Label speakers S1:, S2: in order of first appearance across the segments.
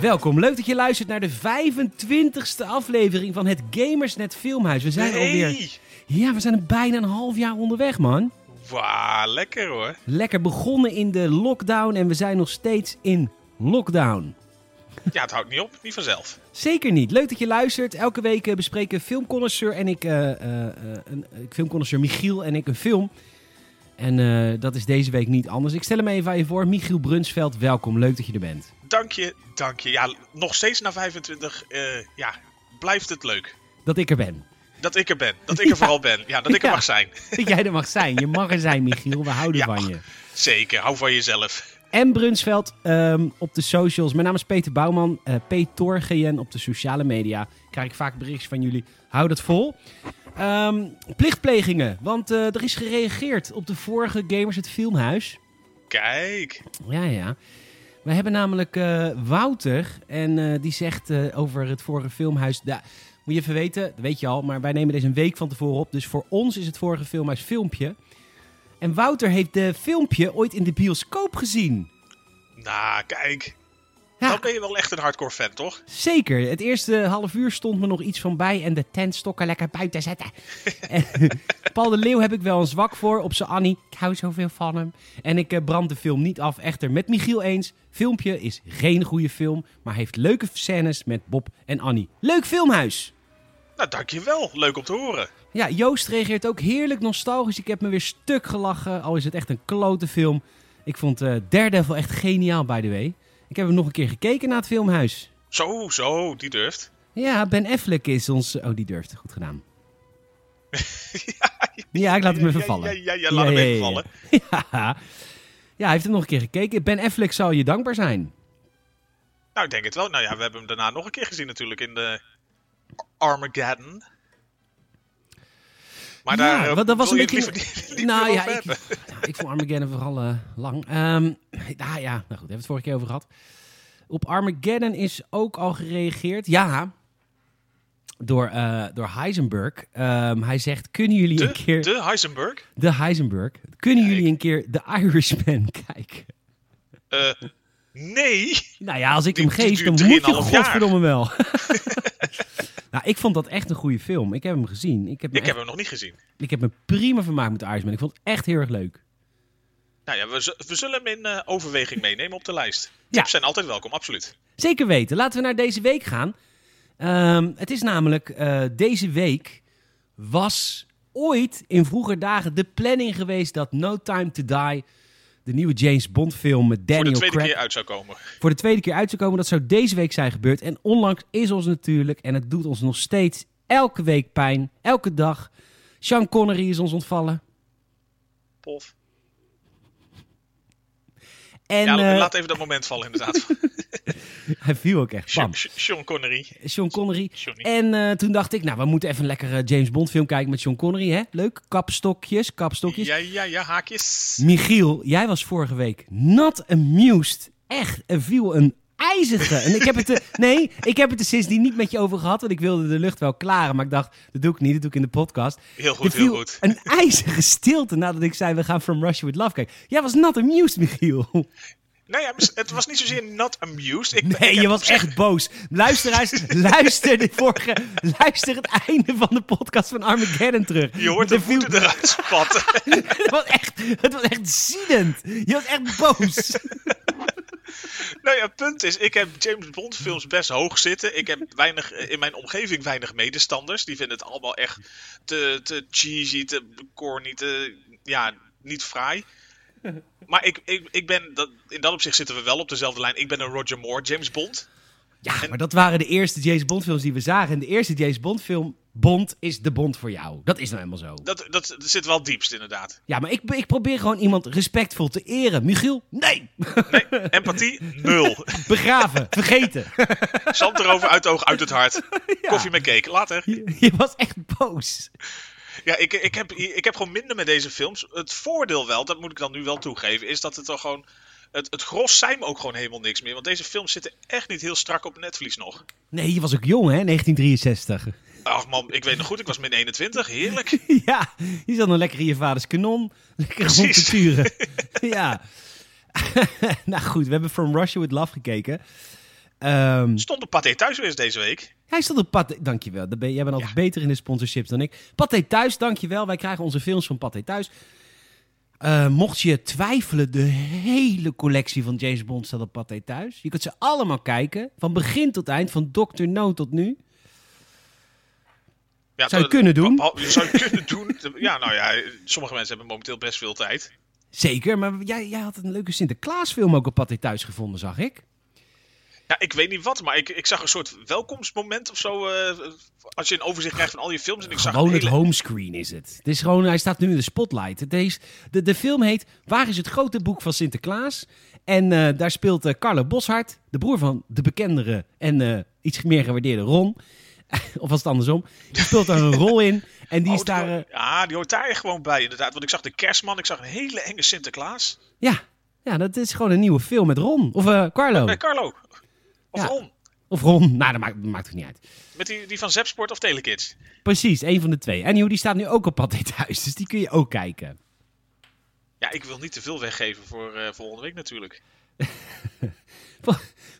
S1: Welkom, leuk dat je luistert naar de 25e aflevering van het Gamersnet Filmhuis. We zijn alweer...
S2: Nee!
S1: Ja, we zijn er bijna een half jaar onderweg, man.
S2: Wauw, lekker hoor.
S1: Lekker begonnen in de lockdown en we zijn nog steeds in lockdown.
S2: Ja, het houdt niet op, niet vanzelf.
S1: Zeker niet. Leuk dat je luistert. Elke week eh, bespreken filmconnoisseur en ik, eh, eh, eh, een, eh, filmconnoisseur Michiel en ik een film. En eh, dat is deze week niet anders. Ik stel hem even aan je voor. Michiel Brunsveld, welkom. Leuk dat je er bent.
S2: Dank je, dank je. Ja, nog steeds na 25, eh, ja, blijft het leuk.
S1: Dat ik er ben.
S2: Dat ik er ben, dat ik er vooral ben. Ja, dat ik er
S1: Ja.
S2: mag zijn.
S1: Dat jij er mag zijn. Je mag er zijn, Michiel. We houden
S2: Ja.
S1: van je.
S2: Zeker, hou van jezelf.
S1: En Brunsveld ehm, op de socials. Mijn naam is Peter Bouwman. eh P. Torgejen op de sociale media. Krijg ik vaak berichtjes van jullie. Hou dat vol. Ehm, plichtplegingen. Want eh, er is gereageerd op de vorige Gamers het Filmhuis.
S2: Kijk,
S1: Ja, ja. We hebben namelijk eh, Wouter. En eh, die zegt eh, over het vorige filmhuis. Da- moet je even weten, dat weet je al. Maar wij nemen deze een week van tevoren op. Dus voor ons is het vorige filmhuis filmpje. En Wouter heeft de filmpje ooit in de bioscoop gezien.
S2: nou kijk.
S1: Ja.
S2: Dan ben je wel echt een hardcore fan, toch?
S1: Zeker. Het eerste half uur stond me nog iets van bij en de tentstokken lekker buiten zetten. En Paul de Leeuw heb ik wel een zwak voor op zijn Annie. Ik hou zoveel van hem. En ik eh, brand de film niet af. Echter, met Michiel eens. Filmpje is geen goede film, maar heeft leuke scènes met Bob en Annie. Leuk filmhuis!
S2: Nou, dank je wel. Leuk om te horen.
S1: Ja, Joost reageert ook heerlijk nostalgisch. Ik heb me weer stuk gelachen, al is het echt een klote film. Ik vond eh Daredevil echt geniaal, by the way. Ik heb hem nog een keer gekeken na het filmhuis.
S2: Zo, zo, die durft.
S1: Ja, Ben Affleck is ons... Oh, die durft. Goed gedaan.
S2: ja,
S1: Ja, ik laat hem
S2: ja,
S1: even
S2: ja,
S1: vallen.
S2: Ja, ja, ja, laat
S1: Ja,
S2: hem
S1: ja,
S2: even
S1: ja,
S2: vallen.
S1: Ja. ja, hij heeft hem nog een keer gekeken. Ben Affleck zal je dankbaar zijn.
S2: Nou, ik denk het wel. Nou ja, we hebben hem daarna nog een keer gezien natuurlijk in de Armageddon.
S1: Ja,
S2: Maar daar eh,
S1: want dat was
S2: wil
S1: een
S2: je het
S1: beetje-
S2: liever niet- niet
S1: nou
S2: meer
S1: ja,
S2: over
S1: ik,
S2: hebben.
S1: nou, ik vond Armageddon vooral eh, lang. Ehm nou ja, nou goed, daar hebben we het vorige keer over gehad. Op Armageddon is ook al gereageerd. Ja, door, eh, door Heisenberg. Ehm, hij zegt, kunnen jullie een
S2: De,
S1: keer... De,
S2: de Heisenberg?
S1: Heisenberg. Kunnen
S2: Kijk.
S1: jullie een keer The Irishman kijken?
S2: Eh, nee.
S1: Nou ja, als ik
S2: Die-
S1: hem
S2: die
S1: geef, dan
S2: duurt
S1: moet je
S2: 3,5 jaar.
S1: godverdomme wel. nou, ik vond dat echt een goede film. Ik heb hem gezien. Ik heb me,
S2: Ik heb
S1: echt-
S2: hem nog niet gezien.
S1: ik heb me prima vermaakt met de Irishman. Ik vond het echt heel erg leuk.
S2: Nou ja, we, z- we zullen hem in eh, overweging meenemen op de lijst. Tips
S1: Ja.
S2: zijn altijd welkom, absoluut.
S1: Zeker weten. Laten we naar deze week gaan. Ehm, het is namelijk, eh, deze week was ooit in vroeger dagen de planning geweest dat No Time to Die, de nieuwe James Bond film met
S2: Voor de
S1: Daniel
S2: tweede
S1: Craig,
S2: keer uit zou komen.
S1: voor de tweede keer uit te komen. Dat zou deze week zijn gebeurd. En onlangs is ons natuurlijk, en het doet ons nog steeds elke week pijn, elke dag. Sean Connery is ons ontvallen.
S2: Pof.
S1: En
S2: ja,
S1: eh,
S2: laat even dat moment vallen inderdaad.
S1: hij viel ook echt. Bam.
S2: Sean, Sean Connery.
S1: Sean Connery.
S2: Johnny.
S1: En eh, toen dacht ik, nou, we moeten even een lekkere James Bond film kijken met Sean Connery, hè? Leuk. Kapstokjes, kapstokjes.
S2: Ja, ja, ja, haakjes.
S1: Michiel, jij was vorige week not amused. Echt, er viel een ijzige. En ik heb het er, nee, ik heb het er sindsdien niet met je over gehad, want ik wilde de lucht wel klaren. Maar ik dacht, dat doe ik niet, dat doe ik in de podcast.
S2: Heel
S1: Er
S2: goed, heel
S1: viel
S2: goed.
S1: een ijzige stilte nadat ik zei, we gaan From Russia With Love kijken. Jij was not amused, Michiel.
S2: Nou ja, het was niet zozeer not amused. Ik, ik
S1: Nee,
S2: heb
S1: je
S2: op
S1: was
S2: zich-
S1: echt boos. Luisteraars, luister, de vorige, luister het einde van de podcast van Armageddon terug.
S2: Je hoort
S1: Er
S2: de
S1: viel-
S2: voeten eruit spatten.
S1: het, was echt, het was echt ziedend. Je was echt boos.
S2: nou ja, het punt is, ik heb James Bond films best hoog zitten. Ik heb weinig, eh, in mijn omgeving weinig medestanders. Die vinden het allemaal echt te, te cheesy, te corny, te, ja, niet fraai. Maar ik, ik, ik ben, dat, in dat opzicht zitten we wel op dezelfde lijn. Ik ben een Roger Moore James Bond.
S1: Ja, maar dat waren de eerste James Bond films die we zagen. En de eerste James Bond film, Bond is de Bond voor jou. Dat is nou helemaal zo.
S2: Dat, dat, dat zit wel diepst inderdaad.
S1: Ja, maar ik, ik probeer gewoon iemand respectvol te eren. Michiel, nee!
S2: Empathie, nul.
S1: Begraven, vergeten.
S2: Zand erover, uit het oog, uit het hart. Koffie met cake, later.
S1: Je, je was echt boos.
S2: Ja, ik, ik, heb, ik heb gewoon minder met deze films. Het voordeel wel, dat moet ik dan nu wel toegeven, is dat het dan gewoon. Het, het gros zijn me ook gewoon helemaal niks meer. Want deze films zitten echt niet heel strak op netvlies nog.
S1: Nee, je was ook jong, hè? 1963.
S2: Ach man, ik weet nog goed, ik was min 21. Heerlijk.
S1: Ja, die zat dan lekker in je vaders kanon. Lekker rond te
S2: Precies.
S1: turen. ja. nou goed, we hebben From Russia With Love gekeken. Ehm,
S2: Stond op Pathé thuis weer eens deze week.
S1: hij stond op Pathé... Dankjewel, daar ben, jij bent altijd beter in de sponsorships dan ik. Pathé Thuis, dankjewel. Wij krijgen onze films van Pathé Thuis. Eh, mocht je twijfelen, de hele collectie van James Bond staat op Pathé Thuis. Je kunt ze allemaal kijken, van begin tot eind, van Dr. No tot nu.
S2: Ja,
S1: Zou je
S2: dat-
S1: kunnen doen.
S2: behalve- Zou je kunnen doen. Ja, nou ja, sommige mensen hebben momenteel best veel tijd.
S1: Zeker, maar jij, jij had een leuke Sinterklaasfilm ook op Pathé Thuis gevonden, zag ik.
S2: Ja, ik weet niet wat, maar ik, ik zag een soort welkomstmoment of zo. eh, als je een overzicht krijgt van al je films. En ik zag
S1: Gewoon
S2: een
S1: het
S2: hele-
S1: homescreen is het. Het is gewoon, hij staat nu in de spotlight. Het is, de, de film heet Waar is het grote boek van Sinterklaas? En eh, daar speelt eh, Carlo Boshart, de broer van de bekendere en eh, iets meer gewaardeerde Ron. of was het andersom? Die speelt daar een rol in. En die
S2: Oh,
S1: is daar... eh,
S2: hoort- ja, die hoort daar gewoon bij, inderdaad. Want ik zag de kerstman, ik zag een hele enge Sinterklaas.
S1: ja, ja, dat is gewoon een nieuwe film met Ron. Of eh, Carlo.
S2: Nee, Carlo. Of
S1: Ja.
S2: Ron.
S1: Of Ron. Nou, dat maakt, maakt het niet uit.
S2: Met die, die van Zepsport of Telekids.
S1: Precies, één van de twee. En die staat nu ook op Pathé Thuis. Dus die kun je ook kijken.
S2: Ja, ik wil niet te veel weggeven voor eh, volgende week natuurlijk.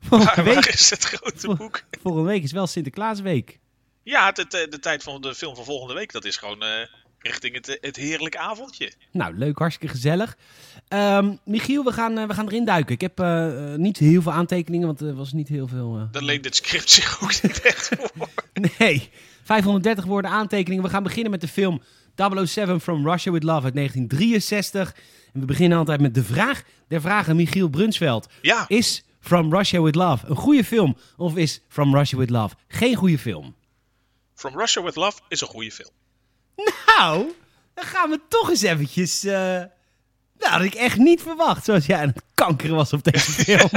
S1: Volgende
S2: Maar waar
S1: week,
S2: is het grote
S1: Vol-
S2: boek?
S1: volgende week is wel Sinterklaasweek.
S2: Ja, de, de, de tijd van de film van volgende week, dat is gewoon eh, richting het, eh, het heerlijk avondje.
S1: Nou, leuk, hartstikke gezellig. Ehm, Michiel, we gaan, eh, we gaan erin duiken. Ik heb eh, eh, niet heel veel aantekeningen, want er was niet heel veel. eh,
S2: Daar leent dit script zich ook niet echt voor.
S1: Nee, 530 woorden aantekeningen. We gaan beginnen met de film 007 From Russia With Love uit 1963. En we beginnen altijd met de vraag der vragen, Michiel Brunsveld.
S2: Ja,
S1: Is From Russia With Love een goede film of is From Russia With Love geen goede film?
S2: From Russia With Love is een goede film.
S1: Nou, dan gaan we toch eens eventjes... eh, Nou, dat had ik echt niet verwacht, zoals jij aan het kankeren was op deze film.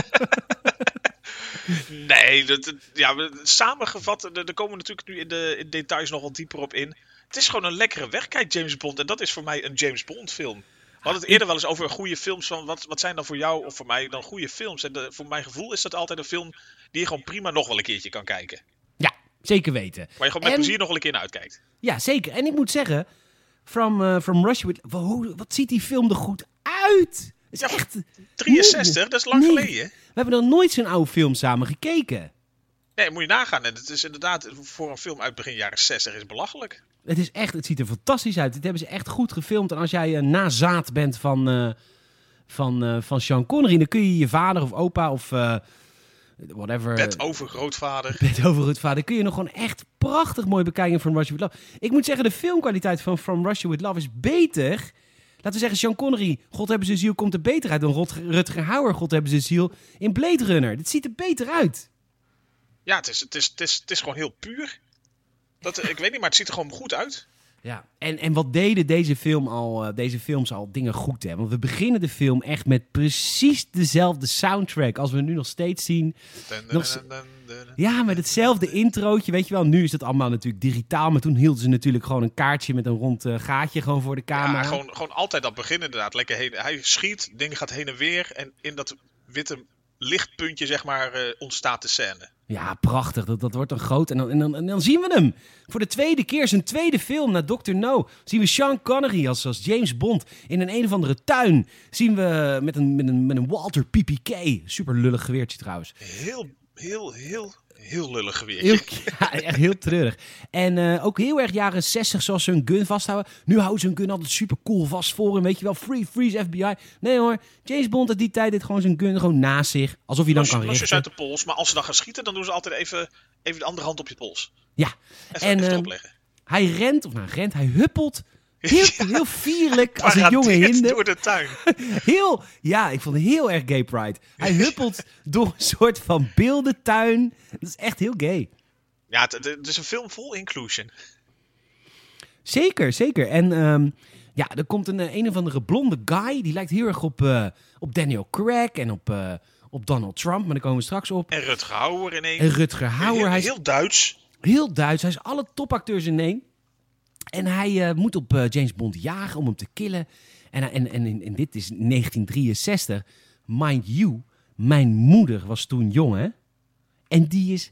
S2: Nee, dat, dat- ja, we- samengevat, er er komen we natuurlijk nu in de in details nog wel dieper op in. Het is gewoon een lekkere wegkijk, James Bond. En dat is voor mij een James Bond film. We hadden het eerder wel eens over goede films. Van wat, wat zijn dan voor jou of voor mij dan goede films? En de- voor mijn gevoel is dat altijd een film die je gewoon prima nog wel een keertje kan kijken.
S1: Ja, zeker weten.
S2: Waar je gewoon met
S1: En-
S2: plezier nog wel een keer naar uitkijkt.
S1: Ja, zeker. En ik moet zeggen, From, eh, from Russia with... Wow, wat ziet die film er goed uit! Het is
S2: Ja, maar
S1: echt...
S2: 63, dat is lang
S1: Nee.
S2: geleden.
S1: We hebben nog nooit zo'n oude film samen gekeken.
S2: Nee, moet je nagaan. En het is inderdaad voor een film uit begin jaren 60 is belachelijk.
S1: Het is echt, het ziet er fantastisch uit. Dit hebben ze echt goed gefilmd. En als jij een nazaat bent van, eh, van, eh, van Sean Connery, dan kun je je vader of opa of eh, whatever...
S2: Bed over grootvader.
S1: Bed over het vader kun je nog gewoon echt prachtig mooi bekijken van Russia with Love. Ik moet zeggen, de filmkwaliteit van From Russia with Love is beter. Laten we zeggen, Sean Connery, God hebben zijn ziel, komt er beter uit dan Rot- Rutger Hauer, God hebben zijn ziel, in Blade Runner. Dit ziet er beter uit.
S2: Ja, het is, het is, het is, het is gewoon heel puur. Dat, ik weet niet, maar het ziet er gewoon goed uit.
S1: Ja, en, en wat deden deze, film al, eh, deze films al dingen goed, hè? Want we beginnen de film echt met precies dezelfde soundtrack als we nu nog steeds zien. Nog ze- Ja, met hetzelfde introotje, weet je wel. Nu is dat allemaal natuurlijk digitaal, maar toen hielden ze natuurlijk gewoon een kaartje met een rond eh, gaatje gewoon voor de camera.
S2: Ja, gewoon, gewoon altijd dat begin inderdaad. Lekker heen, hij schiet, ding gaat heen en weer. En in dat witte lichtpuntje, zeg maar, eh, ontstaat de scène.
S1: Ja, prachtig. Dat, dat wordt dan groot. En dan, en, dan, en dan zien we hem. Voor de tweede keer, zijn tweede film na Dr. No. Zien we Sean Connery als, als James Bond in een een of andere tuin. Zien we met een, met een, met een Walter PPK. Super lullig geweertje trouwens.
S2: Heel, heel, heel, heel lullig geweertje.
S1: Heel, ja, echt heel treurig. En eh, ook heel erg jaren 60 zoals ze hun gun vasthouden. Nu houden ze hun gun altijd super cool vast voor hem. Weet je wel, free, freeze, FBI. Nee hoor, James Bond uit die tijd deed gewoon zijn gun gewoon naast zich. Alsof hij dan kan
S2: Losjes uit
S1: richten.
S2: de pols. Maar als ze dan gaan schieten, dan doen ze altijd even, even de andere hand op je pols.
S1: Ja.
S2: Even,
S1: En,
S2: even
S1: ehm,
S2: erop leggen.
S1: Hij rent, of nou rent, hij huppelt. Heel, heel vierlijk als een jonge
S2: Paradeert
S1: hinde.
S2: door de tuin.
S1: Heel, ja, ik vond het heel erg gay pride. Hij huppelt door een soort van beeldentuin. Dat is echt heel gay.
S2: Ja, het, het- het is een film vol inclusion.
S1: Zeker, zeker. En ehm, ja, er komt een, eh, een of andere blonde guy. Die lijkt heel erg op, eh, op Daniel Craig en op, eh, op Donald Trump. Maar daar komen we straks op.
S2: En Rutger Hauer in één.
S1: En Rutger Hauer,
S2: heel,
S1: hij is
S2: heel Duits.
S1: heel Duits. Hij is alle topacteurs in één. En hij eh, moet op eh, James Bond jagen om hem te killen. En, hij- en, en, en dit is 1963. Mind you, mijn moeder was toen jong, hè? En die is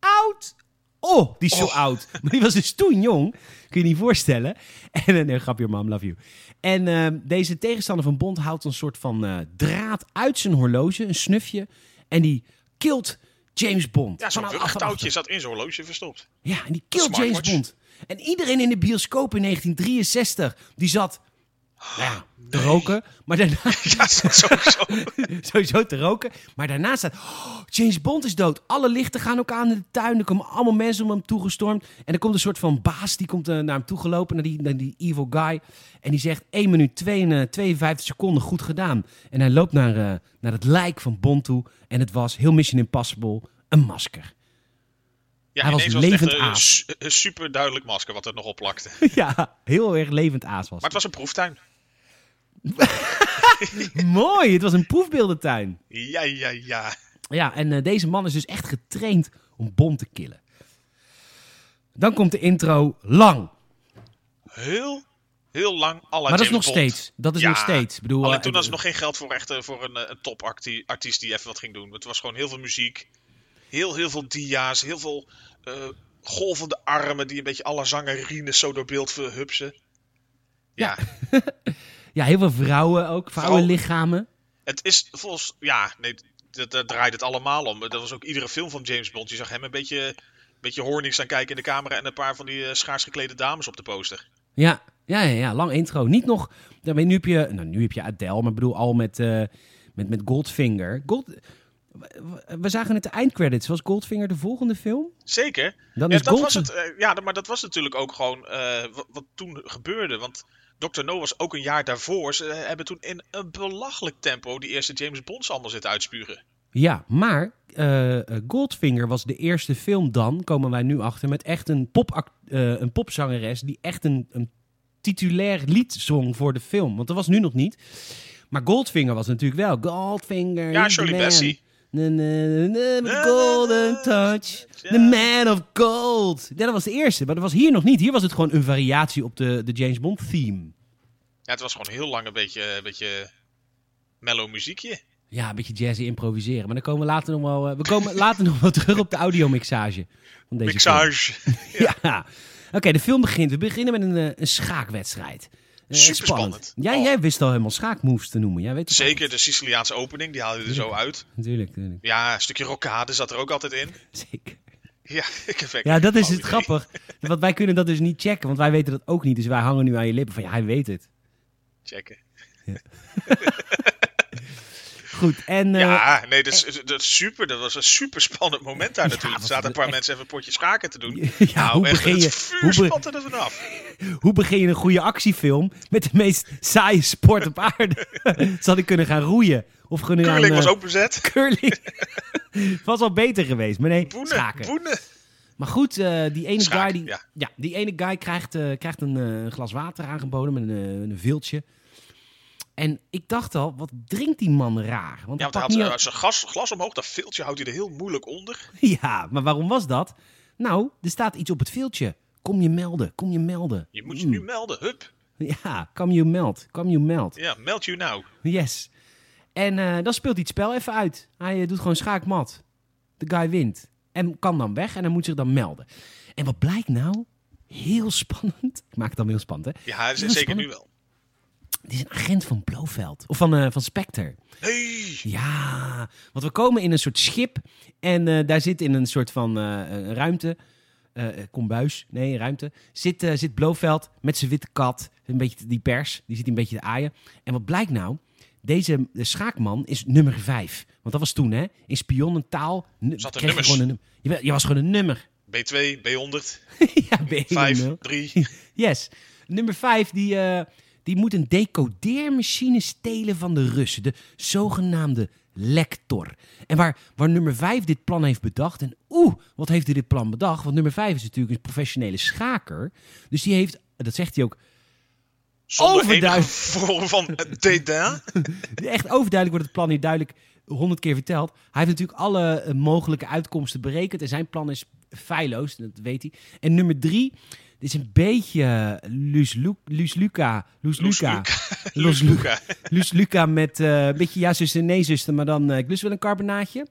S1: oud. Oh, die is zo oud. Maar die was dus toen jong. Kun je je niet voorstellen. En eh, nee, grapje, mam, love you. En eh, deze tegenstander van Bond houdt een soort van eh, draad uit zijn horloge, een snufje. En die kilt James Bond.
S2: Ja, zo'n
S1: Van achter-
S2: rugtouwtje zat in zo'n horloge verstopt.
S1: Ja, en die kill
S2: Smartwatch.
S1: James Bond. En iedereen in de bioscoop in 1963, die zat nou ja, te roken, maar daarna
S2: Ja, sowieso.
S1: sowieso te roken, maar daarna staat "Oh, James Bond is dood. Alle lichten gaan ook aan in de tuin. Er komen allemaal mensen om hem toegestormd. En er komt een soort van baas die komt eh, naar hem toe gelopen, naar die, naar die evil guy. En die zegt 1 minuut 2 en, eh, 52 seconden goed gedaan. En hij loopt naar, eh, naar het lijk van Bond toe. En het was heel Mission Impossible, een masker.
S2: Ja,
S1: Hij was
S2: ineens
S1: levend
S2: het echt een,
S1: aap.
S2: su- een super duidelijk masker wat er nog op plakte. Maar
S1: ja, heel erg levend aas was.
S2: het was een proeftuin.
S1: Mooi, het was een proefbeeldentuin.
S2: Ja, ja, ja.
S1: Ja, en eh, deze man is dus echt getraind om bom te killen. Dan komt de intro
S2: Oh,
S1: lang.
S2: Heel, heel lang. à la
S1: Maar dat is nog
S2: James Bond.
S1: steeds. Dat is
S2: Ja,
S1: nog steeds. Ik bedoel,
S2: Alleen
S1: eh,
S2: toen was er
S1: eh,
S2: nog geen geld voor, echt, eh, voor een, eh, een topartiest die even wat ging doen. Het was gewoon heel veel muziek. Heel, heel veel dia's. Heel veel eh, golvende armen die een beetje alle zangerines zo door beeld verhupsen. Ja,
S1: Ja, heel veel vrouwen ook. Vrouwenlichamen.
S2: het is volgens... Ja, nee, d- daar draait het allemaal om. Dat was ook iedere film van James Bond. Je zag hem een beetje, een beetje horny staan kijken in de camera... en een paar van die eh, schaars geklede dames op de poster.
S1: Ja, ja, ja, ja, lang intro. Niet nog... daarmee- Nu heb je, nou, nu heb je Adele, maar ik bedoel al met, eh, met, met Goldfinger. Gold, we- we zagen het de eindcredits. Was Goldfinger de volgende film?
S2: Zeker.
S1: Dan
S2: Ja,
S1: is
S2: dat
S1: Gold...
S2: was het, eh, ja, maar dat was natuurlijk ook gewoon eh, wat, wat toen gebeurde. Want Dr. No was ook een jaar daarvoor. Ze eh, hebben toen in een belachelijk tempo die eerste James Bonds allemaal zitten uitspuren.
S1: Ja, maar eh, eh, Goldfinger was de eerste film dan, komen wij nu achter, met echt een, popac- eh, een popzangeres die echt een, een titulair lied zong voor de film. Want dat was nu nog niet. Maar Goldfinger was natuurlijk wel. Goldfinger.
S2: Ja,
S1: he's the
S2: Shirley
S1: man.
S2: Bassey.
S1: Na, na, na, na, with the golden touch. The man of gold. Ja, dat was de eerste, maar dat was hier nog niet. Hier was het gewoon een variatie op de, de James Bond theme.
S2: Ja, het was gewoon heel lang een beetje, eh, een beetje mellow muziekje.
S1: Ja, een beetje jazzy improviseren. Maar dan komen we later nog wel, eh, we komen later nog wel terug op de audiomixage. van deze film.
S2: Mixage.
S1: Ja. Oké, de film begint. We beginnen met een, eh, een schaakwedstrijd. Eh,
S2: Superspannend.
S1: Jij,
S2: Oh.
S1: jij wist al helemaal schaakmoves te noemen. Jij weet het
S2: Zeker de Siciliaanse opening, die haalde je er zo uit.
S1: al. Natuurlijk, natuurlijk.
S2: Ja, een stukje rokkade zat er ook altijd in.
S1: Zeker.
S2: Ja, ik heb Oh, echt
S1: Ja, dat is
S2: geen
S1: het
S2: flauw idee.
S1: grappig. Want wij kunnen dat dus niet checken, want wij weten dat ook niet. Dus wij hangen nu aan je lippen van, ja, hij weet het.
S2: Checken.
S1: Goed, en... eh,
S2: Ja, nee, dat, is, dat, is super, dat was een super spannend moment daar
S1: Ja,
S2: natuurlijk. Er
S1: wat-
S2: zaten een paar
S1: echt-
S2: mensen even een potje schaken te doen.
S1: ja,
S2: nou,
S1: hoe
S2: echt,
S1: begin
S2: het
S1: je-
S2: vuur
S1: hoe be-
S2: spatte er vanaf.
S1: Hoe begin je een goede actiefilm met de meest saaie sport op aarde? Zal ik kunnen gaan roeien? Of kunnen gaan...
S2: Curling was
S1: eh,
S2: ook bezet.
S1: Curling. was al beter geweest, maar nee,
S2: Boenen,
S1: schaken.
S2: boenen.
S1: Maar goed, eh, die ene
S2: Schaak,
S1: guy, die,
S2: ja.
S1: ja. die ene guy krijgt, eh, krijgt een eh, een glas water aangeboden met een, eh, een viltje. En ik dacht al, wat drinkt die man raar? Want hij
S2: Ja, want hij
S1: pakt
S2: had
S1: niet
S2: eh, zijn gas, glas omhoog, dat filtje houdt hij er heel moeilijk onder.
S1: uit- ja, maar waarom was dat? Nou, er staat iets op het viltje. Kom je melden, kom je melden.
S2: Je moet je
S1: Mm.
S2: nu melden, hup.
S1: Ja, come you meld, come you meld.
S2: Ja, meld you now.
S1: Yes. En eh, dan speelt hij het spel even uit. Hij eh, doet gewoon schaakmat. De guy wint. En kan dan weg en hij moet zich dan melden. En wat blijkt nou? Heel spannend. Ik maak het dan heel spannend, hè?
S2: Ja, dat is
S1: Heel
S2: zeker nu
S1: spannend.
S2: wel.
S1: Het is een agent van Blofeld. Of van, eh, van Spectre.
S2: Nee,
S1: Ja, want we komen in een soort schip. En eh, daar zit in een soort van eh, een ruimte. eh eh, kombuis, nee, ruimte. Zit, eh, zit Blofeld met zijn witte kat. Een beetje die pers. Die zit een beetje te aaien. En wat blijkt nou? Deze schaakman is nummer vijf. Want dat was toen, hè? In spionnentaal. nu-
S2: Zat
S1: kreeg
S2: er
S1: je
S2: nummers?
S1: Gewoon een, num- je, wa- je was gewoon een nummer.
S2: B2, B100,
S1: ja, ben je
S2: 5,
S1: nul?
S2: 3.
S1: Yes. Nummer vijf, die, eh, die moet een decodeermachine stelen van de Russen. De zogenaamde lector. En waar, waar nummer vijf dit plan heeft bedacht. En oeh, wat heeft hij dit plan bedacht? Want nummer vijf is natuurlijk een professionele schaker. Dus die heeft, dat zegt hij ook,
S2: Zonder enige
S1: Overduif.
S2: vorm van eh, dédain.
S1: echt overduidelijk wordt het plan hier duidelijk honderd keer verteld. Hij heeft natuurlijk alle eh, mogelijke uitkomsten berekend. En zijn plan is feilloos, dat weet hij. En nummer drie, dit is een beetje eh, Luus Lu- Luus Luca. Luus
S2: Loes
S1: Luca.
S2: Luca.
S1: Los
S2: Loes Luca.
S1: Luus Luca met eh, een beetje ja zuster, nee zuster, maar dan eh, ik lust wel een carbonaatje.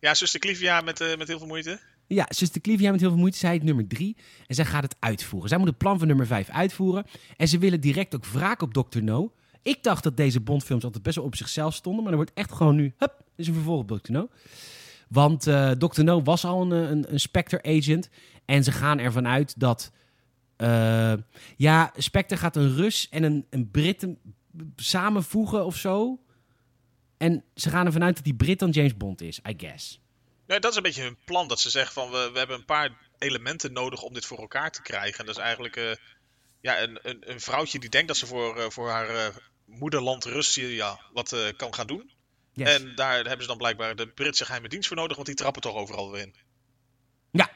S2: Ja, zuster Clivia met, eh, met heel veel moeite.
S1: Ja, zuster Clivia met heel veel moeite, zij het nummer drie. En zij gaat het uitvoeren. Zij moet het plan van nummer vijf uitvoeren. En ze willen direct ook wraak op Dr. No. Ik dacht dat deze Bondfilms altijd best wel op zichzelf stonden. Maar er wordt echt gewoon nu, hup, is een vervolg op Dr. No. Want eh Dr. No was al een, eh, een, een Spectre-agent. En ze gaan ervan uit dat... eh, ja, Spectre gaat een Rus en een, een Brit een- samenvoegen of zo. En ze gaan ervan uit dat die Brit dan James Bond is, I guess.
S2: Nou, dat is een beetje hun plan. Dat ze zeggen van we, we hebben een paar elementen nodig om dit voor elkaar te krijgen. En dat is eigenlijk eh, ja, een, een, een vrouwtje die denkt dat ze voor, eh, voor haar eh, moederland Rusland ja, wat eh, kan gaan doen.
S1: Yes.
S2: En daar hebben ze dan blijkbaar de Britse geheime dienst voor nodig, want die trappen toch overal weer in.
S1: Ja,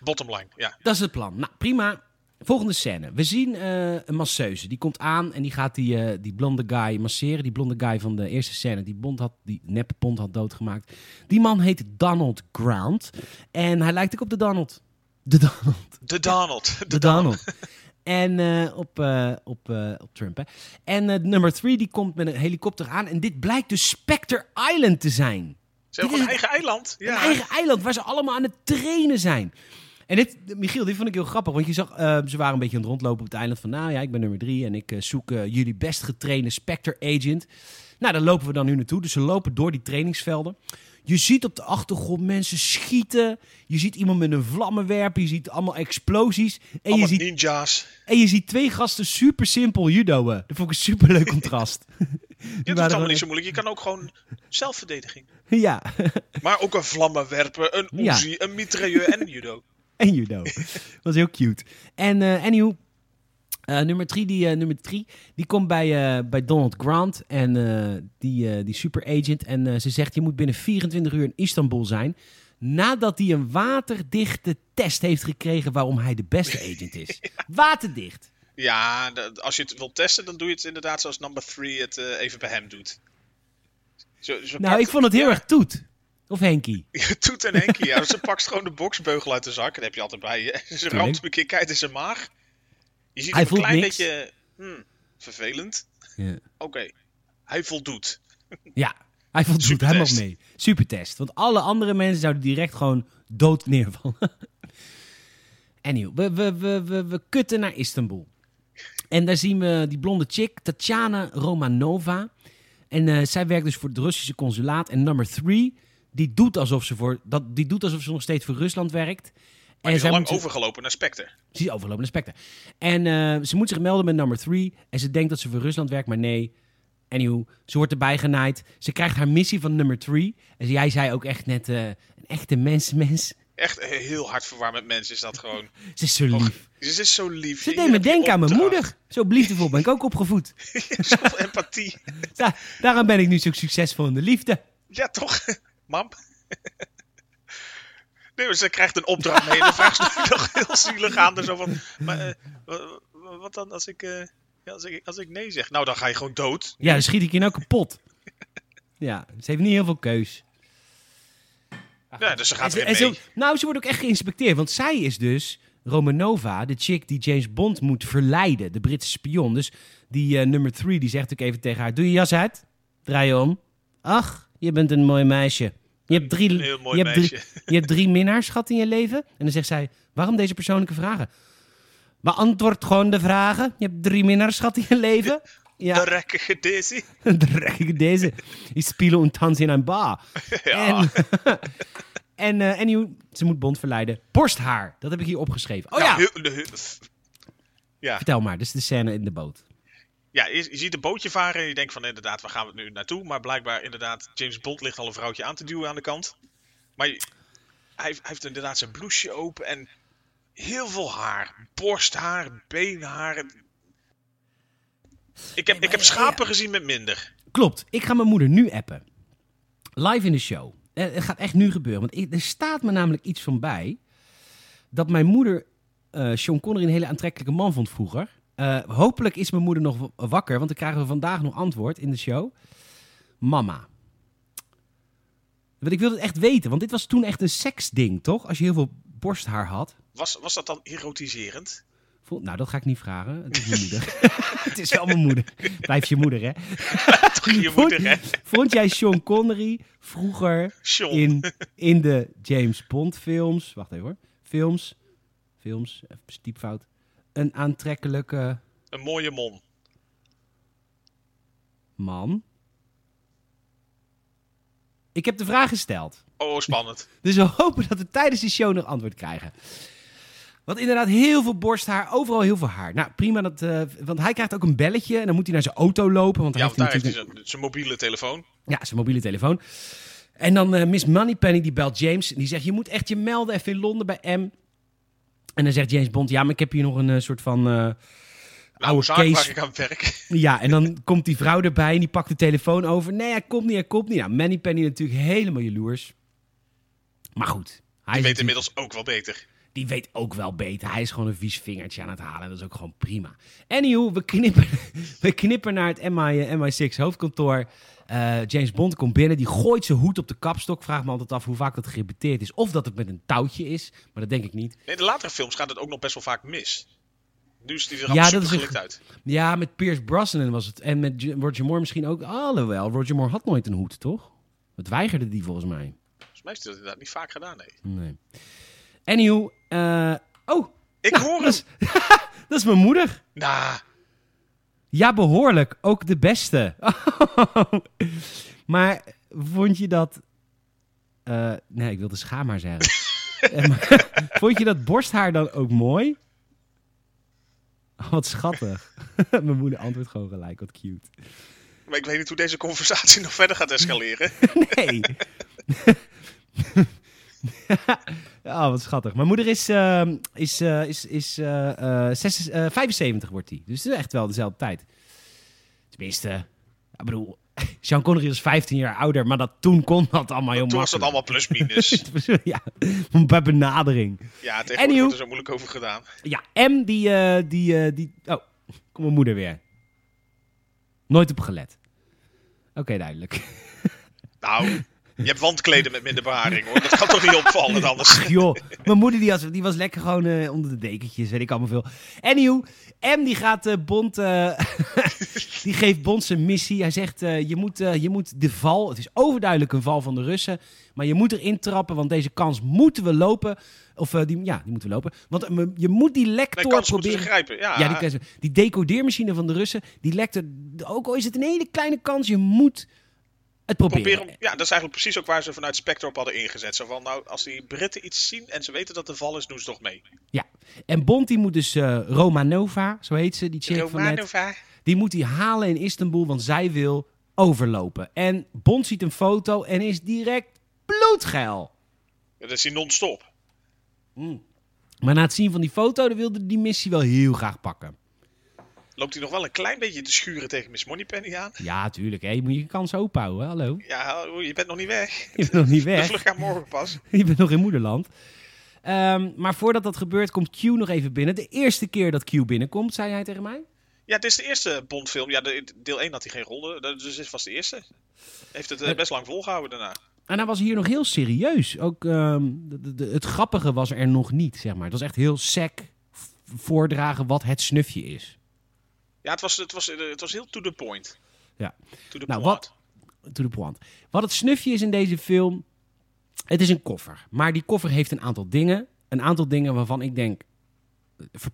S2: Bottom line, ja.
S1: Dat is het plan. Nou, prima. Volgende scène. We zien eh, een masseuse. Die komt aan en die gaat die, eh, die blonde guy masseren. Die blonde guy van de eerste scène. Die, bond had, die neppe bond had doodgemaakt. Die man heet Donald Ground. En hij lijkt ook op de Donald. De Donald.
S2: De Donald.
S1: De Donald. En eh, op, eh, op, eh, op Trump, hè. En eh, nummer 3 die komt met een helikopter aan. En dit blijkt dus Spectre Island te zijn.
S2: Ze hebben gewoon een eigen eiland. Ja.
S1: Een eigen eiland waar ze allemaal aan het trainen zijn. En dit, Michiel, dit vond ik heel grappig. Want je zag, eh, ze waren een beetje aan het rondlopen op het eiland. Van nou ja, ik ben nummer drie en ik eh, zoek eh, jullie best getrainde Spectre Agent. Nou, daar lopen we dan nu naartoe. Dus ze lopen door die trainingsvelden. Je ziet op de achtergrond mensen schieten. Je ziet iemand met een vlammenwerper. Je ziet allemaal explosies. En je
S2: Allemaal
S1: ziet,
S2: ninja's.
S1: en je ziet twee gasten super simpel judoën. Dat vond ik een super leuk contrast. Die
S2: Dit is
S1: waren
S2: allemaal
S1: gewoon
S2: niet zo moeilijk. Je kan ook gewoon zelfverdediging.
S1: echt- Ja,
S2: Maar ook een vlammenwerper, een
S1: Ja.
S2: Uzi, een mitrailleur en een judo.
S1: En judo. was heel cute. En eh anyhow, eh, nummer 3 die, eh, nummer drie, die komt bij, eh, bij Donald Grant en eh, die, eh, die superagent. En eh, ze zegt, je moet binnen 24 uur in Istanbul zijn. Nadat hij een waterdichte test heeft gekregen waarom hij de beste agent is. Waterdicht.
S2: Ja, dat- als je het wilt testen, dan doe je het inderdaad zoals number 3 het eh, even bij hem doet. Zo, ze
S1: Nou,
S2: pakt-
S1: ik vond het heel
S2: ja,
S1: erg toet. Of Henkie.
S2: Toet en Henkie, ja. Ze pakt gewoon de boksbeugel uit de zak. Dat heb je altijd bij je. Ze ramt hem een keer keihard in zijn maag. Je ziet
S1: Hij
S2: hem een
S1: voelt
S2: klein
S1: niks.
S2: beetje... hm, vervelend.
S1: Ja.
S2: Oké, hij voldoet.
S1: Ja, hij vond het goed. Hij mag
S2: Supertest.
S1: mee. Supertest. Want alle andere mensen zouden direct gewoon dood neervallen. Anyhow, we, we, we, we, we kutten naar Istanbul. En daar zien we die blonde chick, Tatjana Romanova. En eh, zij werkt dus voor het Russische consulaat. En number three, die doet alsof ze, voor, dat, die doet alsof ze nog steeds voor Rusland werkt.
S2: Maar hij is
S1: zij
S2: al lang
S1: moet zich-
S2: overgelopen naar Spectre.
S1: ze is overlopende specter. En eh, ze moet zich melden met number 3. En ze denkt dat ze voor Rusland werkt, maar nee. Anywho, ze wordt erbij genaaid. Ze krijgt haar missie van nummer 3. En jij zei ook echt net, eh, een echte mens-mens.
S2: Echt eh, heel hartverwarmend mens is dat gewoon.
S1: Ze is zo lief.
S2: Ze is dus zo lief.
S1: Ze
S2: Hier
S1: deed me
S2: heb je
S1: denken aan mijn
S2: opdracht.
S1: moeder. Zo liefdevol ben ik ook opgevoed.
S2: Zoveel empathie.
S1: Da- daarom ben ik nu zo succesvol in de liefde.
S2: Ja, toch? Mam? Nee, maar ze krijgt een opdracht mee en dan vraagt ze nog heel zielig aan. Dus zo van, maar eh, wa- wa- wat dan als ik, eh, ja, als, ik, als ik nee zeg? Nou, dan ga je gewoon dood.
S1: Ja, dan schiet ik je nou kapot. Ja, ze heeft niet heel veel keus.
S2: Ja, dus ze gaat
S1: En ze-
S2: erin
S1: en
S2: mee.
S1: ze- nou, ze wordt ook echt geïnspecteerd. Want zij is dus Romanova, de chick die James Bond moet verleiden. De Britse spion. Dus die eh, nummer 3 die zegt ook even tegen haar... Doe je jas uit. Draai je om. Ach, je bent een mooi meisje. Je hebt drie,
S2: Een heel mooi
S1: je hebt drie,
S2: meisje.
S1: je hebt drie minnaars gehad in je leven. En dan zegt zij, waarom deze persoonlijke vragen? Beantwoord gewoon de vragen. Je hebt drie minnaars gehad in je leven. Ja.
S2: De rekkige Daisy.
S1: Dan raak ik deze. Ik spelen en dansen in een bar.
S2: Ja.
S1: En, en eh, anyhow, ze moet Bond verleiden. Borsthaar, dat heb ik hier opgeschreven. Oh ja,
S2: Nou, heel- de- heel- ja.
S1: vertel maar. Dit is de scène in de boot.
S2: Ja, je, je ziet een bootje varen en je denkt van inderdaad, waar gaan we nu naartoe? Maar blijkbaar inderdaad, James Bond ligt al een vrouwtje aan te duwen aan de kant. Maar je- hij, hij heeft inderdaad zijn blouseje open en heel veel haar. Borsthaar, beenhaar. Ik heb, ik
S1: eh,
S2: heb schapen gezien met minder.
S1: Klopt, ik ga mijn moeder nu appen. Live in de show. Eh, het gaat echt nu gebeuren. Want ik- er staat me namelijk iets van bij... dat mijn moeder eh, Sean Connery een hele aantrekkelijke man vond vroeger. Eh, hopelijk is mijn moeder nog w- wakker... want dan krijgen we vandaag nog antwoord in de show. Mama. Want ik wilde het echt weten. Want dit was toen echt een seksding, toch? Als je heel veel borsthaar had...
S2: Was, was dat dan erotiserend?
S1: Vol- nou, dat ga ik niet vragen. Het is mijn moeder. het is wel mijn moeder. Blijf je moeder, hè?
S2: Toch je moeder, hè?
S1: Vond, vond jij Sean Connery vroeger
S2: Sean.
S1: in, in de James Bond films... Wacht even hoor. Films. Films. Even typfout. Een aantrekkelijke
S2: Een mooie mom.
S1: man? Ik heb de vraag gesteld.
S2: Oké, Oh, spannend.
S1: Dus we hopen dat we tijdens die show nog antwoord krijgen. Want inderdaad, heel veel borsthaar, overal heel veel haar. Nou, prima. Dat, eh, want hij krijgt ook een belletje en dan moet hij naar zijn auto lopen. Want, hij
S2: Ja, want daar heeft hij
S1: natuurlijk
S2: zijn, zijn mobiele telefoon.
S1: ja, zijn mobiele telefoon. En dan eh Miss Moneypenny, die belt James. En die zegt, je moet echt je melden even in Londen bij M. En dan zegt James Bond, ja, maar ik heb hier nog een eh, soort van... eh,
S2: Nou,
S1: oude
S2: zaak waar
S1: case
S2: ik aan werk.
S1: ja, en dan komt die vrouw erbij en die pakt de telefoon over. Nee, hij komt niet, hij komt niet. Nou, Manny Penny natuurlijk helemaal jaloers. Maar goed. Hij
S2: Die
S1: is natuurlijk-
S2: weet inmiddels ook wel beter.
S1: die weet ook wel beter. Hij is gewoon een vies vingertje aan het halen. En dat is ook gewoon prima. Anywho, we knippen, we knippen naar het MI, eh, MI6 hoofdkantoor. Eh, James Bond komt binnen. Die gooit zijn hoed op de kapstok. Vraag me altijd af hoe vaak dat gerepeteerd is. Of dat het met een touwtje is. Maar dat denk ik niet.
S2: In de latere films gaat het ook nog best wel vaak mis. Nu is die er allemaal
S1: Ja,
S2: super
S1: dat is een-
S2: gelukt uit.
S1: Ja, met Pierce Brosnan was het. En met J- Roger Moore misschien ook. Alhoewel, Roger Moore had nooit een hoed, toch? Dat weigerde die volgens mij.
S2: Volgens mij is dat inderdaad niet vaak gedaan, nee.
S1: Nee. Anywho, eh, oh,
S2: Ik hoor
S1: dat is,
S2: hem!
S1: dat is mijn moeder.
S2: Nou,
S1: Ja, behoorlijk. Ook de beste. maar vond je dat... eh, nee, ik wilde schaamhaar zeggen. Eh, maar vond je dat borsthaar dan ook mooi? Oh, wat schattig. Mijn moeder antwoordt gewoon gelijk. Wat cute.
S2: maar ik weet niet hoe deze conversatie nog verder gaat escaleren.
S1: Nee. oh, wat schattig. Mijn moeder is, eh, is, eh, is, is eh, eh, zes- eh, 75 wordt die. Dus het is echt wel dezelfde tijd. Tenminste, ik bedoel, Sean Connery was 15 jaar ouder, maar dat, toen kon dat allemaal heel
S2: Toen was dat
S1: makkelijk.
S2: allemaal plus-minus.
S1: ja, bij benadering.
S2: Ja, tegenwoordig
S1: Anywho.
S2: wordt er zo moeilijk over gedaan.
S1: Ja, M die, eh, die, eh, die... Oh, kom mijn moeder weer. Nooit op gelet. Oké, duidelijk.
S2: Nou, je hebt wandkleden met minder beharing hoor. Dat kan toch niet opvallen anders.
S1: Ach, joh, mijn moeder die was, die was lekker gewoon eh, onder de dekentjes, weet ik allemaal veel. Anywho, M die gaat eh, Bond, eh, die geeft Bond zijn missie. Hij zegt, eh, je, moet, eh, je moet de val, het is overduidelijk een val van de Russen, maar je moet erin trappen, want deze kans moeten we lopen. Of eh, die, ja, die moeten we lopen. Want eh, je moet die
S2: Nee,
S1: lector
S2: kans Ah. moeten ze
S1: proberen...
S2: grijpen. Ja,
S1: Ja, die, kans- die decodeermachine van de Russen, die lekt er, ook al is het een hele kleine kans, je moet het
S2: Probeer
S1: proberen.
S2: hem, ja, dat is eigenlijk precies ook waar ze vanuit Spectre op hadden ingezet. Zo van, nou, als die Britten iets zien en ze weten dat de val is, doen ze toch mee.
S1: Ja, en Bond die moet dus eh, Romanova, zo heet ze, die chick van net, die moet die halen in Istanbul, want zij wil overlopen. En Bond ziet een foto en is direct bloedgeil.
S2: Ja, dat is die non-stop.
S1: Maar na het zien van die foto, dan wilde die missie wel heel graag pakken.
S2: Loopt hij nog wel een klein beetje te schuren tegen Miss Moneypenny aan?
S1: Ja, tuurlijk, hè. je moet je kans openhouden, hallo.
S2: Ja, hallo, je bent nog niet weg.
S1: Je bent nog niet
S2: De
S1: weg.
S2: vlucht gaat morgen pas.
S1: Je bent nog in moederland. Ehm, maar voordat dat gebeurt, komt Q nog even binnen. De eerste keer dat Q binnenkomt, zei hij tegen mij.
S2: Ja, dit is de eerste Bondfilm. Ja, de- deel 1 had hij geen ronde. dat- Dus dit was de eerste. Heeft het eh, best lang volgehouden daarna.
S1: En hij was hier nog heel serieus. Ook ehm, de- de- de- het grappige was er nog niet, zeg maar. Het was echt heel sec v- voordragen wat het snufje is.
S2: Ja, het was, het was, eh, het was heel to the point.
S1: Ja.
S2: To the
S1: Nou,
S2: point.
S1: wat- To the point. Wat het snufje is in deze film, het is een koffer. Maar die koffer heeft een aantal dingen. Een aantal dingen waarvan ik denk, eh, ver-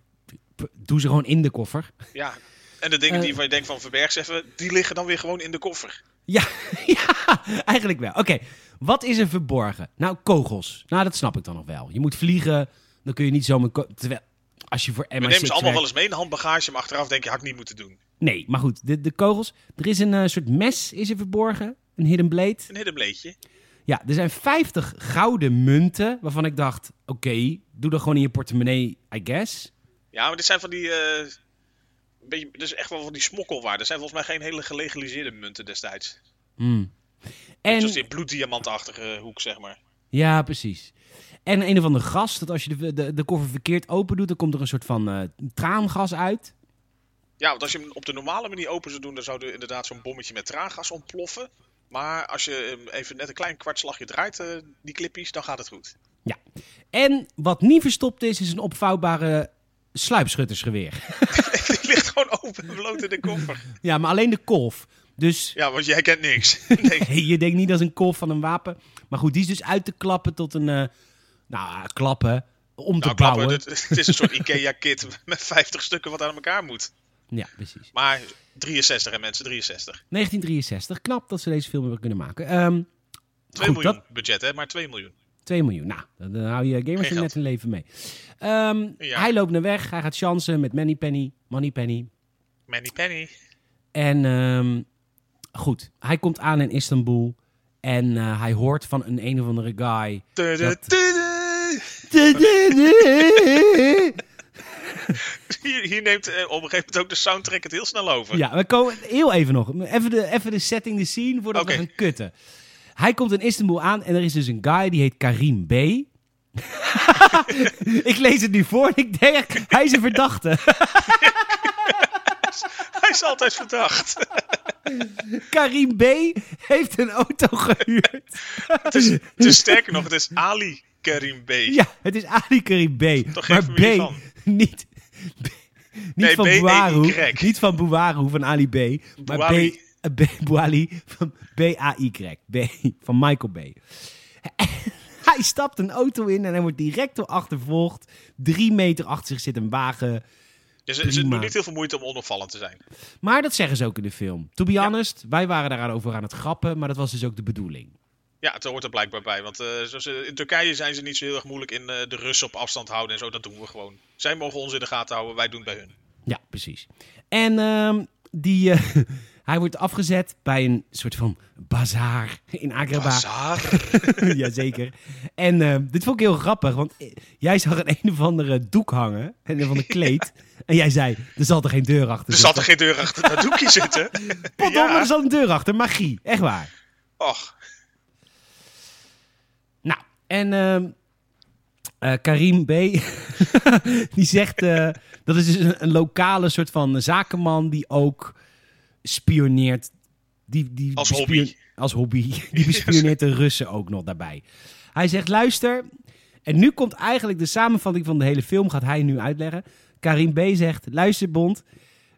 S1: ver- doe ze gewoon in de koffer.
S2: Ja. En de dingen
S1: Eh.
S2: die van je denkt van verberg ze even, die liggen dan weer gewoon in de koffer.
S1: Ja, ja eigenlijk wel. Oké, wat is er verborgen? Nou, kogels. Nou, dat snap ik dan nog wel. Je moet vliegen, dan kun je niet zomaar... ko- Terwijl, als je voor MI6
S2: We nemen ze allemaal
S1: werkt-
S2: wel eens mee in de handbagage, maar achteraf denk je, had ik niet moeten doen.
S1: Nee, maar goed, de, de kogels. Er is een eh, soort mes is er verborgen, een hidden blade.
S2: Een hidden bleedje.
S1: Ja, er zijn 50 gouden munten, waarvan ik dacht... Oké, doe dat gewoon in je portemonnee, I guess.
S2: Ja, maar dit zijn van die... eh, een beetje, dit is echt wel van die smokkelwaarden. Er zijn volgens mij geen hele gelegaliseerde munten destijds.
S1: Hmm.
S2: En...
S1: En,
S2: Zoals die bloeddiamantachtige hoek, zeg maar.
S1: ja, precies. En een of ander gas, dat als je de, de, de koffer verkeerd open doet... dan komt er een soort van eh, traangas uit.
S2: Ja, want als je hem op de normale manier open zou doen, dan zou er inderdaad zo'n bommetje met traangas ontploffen. Maar als je hem even net een klein kwartslagje draait, eh, die clippies, dan gaat het goed.
S1: Ja. En wat niet verstopt is, is een opvouwbare sluipschuttersgeweer.
S2: die ligt gewoon open en bloot in de koffer.
S1: Ja, maar alleen de kolf. Dus
S2: Ja, want jij kent niks. nou, Nee.
S1: je denkt niet dat is een kolf van een wapen. Maar goed, die is dus uit te klappen tot een... eh, nou, klappen. Om
S2: Nou,
S1: te
S2: klappen,
S1: bouwen.
S2: het, het is een soort IKEA-kit met 50 stukken wat aan elkaar moet.
S1: Ja, precies.
S2: Maar 63 hè mensen, 63.
S1: 1963. Knap dat ze deze film hebben kunnen maken. Ehm,
S2: 2
S1: Goed,
S2: miljoen
S1: dat-
S2: budget, hè? Maar 2 miljoen.
S1: 2 miljoen. Nou, dan dan hou je gamers
S2: Geen
S1: er net
S2: geld.
S1: een leven mee. Ehm,
S2: Ja.
S1: Hij loopt naar weg. Hij gaat chansen met Moneypenny. Moneypenny.
S2: Manny Penny.
S1: En ehm, goed, hij komt aan in Istanbul. En eh, hij hoort van een een of andere guy.
S2: Tudu,
S1: Dat-
S2: tudu. Hier, hier neemt eh, op een gegeven moment ook de soundtrack het heel snel over.
S1: Ja, we komen heel even nog. Even de, even de setting, de scene, voordat we
S2: Oké.
S1: gaan kutten. Hij komt in Istanbul aan en er is dus een guy die heet Karim B. ik lees het nu voor en ik denk, echt, hij is een verdachte.
S2: Hij is altijd verdacht.
S1: Karim B. heeft een auto gehuurd.
S2: het, is, het is sterker nog, het is Ali Karim B.
S1: Ja, het is Ali Karim B.
S2: Toch geen
S1: maar B,
S2: familie van?
S1: niet, B- niet
S2: Nee,
S1: van
S2: B, E,
S1: Buaru,
S2: Y.
S1: niet van Buaru, van Ali B. Maar B, eh,
S2: Bouali.
S1: B, Bouali van B-A-Y, B, van Michael B. Hij stapt een auto in en hij wordt direct door achtervolgd. Drie meter achter zich zit een wagen.
S2: Dus ze- ze
S1: prima.
S2: doen niet heel veel moeite om onopvallend te zijn.
S1: Maar dat zeggen ze ook in de film. To be honest, wij waren daarover aan het grappen, maar dat was dus ook de bedoeling.
S2: Ja, het hoort er blijkbaar bij. Want eh, zoals, eh, in Turkije zijn ze niet zo heel erg moeilijk in eh, de Russen op afstand houden en zo. Dat doen we gewoon. Zij mogen ons in de gaten houden, wij doen het bij hun.
S1: Ja, precies. En ehm, die, eh, hij wordt afgezet bij een soort van bazaar in Agrabah.
S2: Bazaar.
S1: Jazeker. En eh, dit vond ik heel grappig, want eh, jij zag een een of andere doek hangen, een of ander kleed. En jij zei, er zal er geen deur achter
S2: Er zat er geen deur achter dat doekje zitten.
S1: Potdomme, er
S2: ja.
S1: zat een deur achter. Magie, echt waar.
S2: Och,
S1: Nou, en ehm, eh, Karim B. die zegt, eh, dat is dus een, een lokale soort van zakenman die ook spioneert. Die, die
S2: Als
S1: bespion-
S2: hobby.
S1: Als hobby. Die bespioneert de Russen ook nog daarbij. Hij zegt, luister, en nu komt eigenlijk de samenvatting van de hele film, gaat hij nu uitleggen. Karim B. zegt, luister Bond,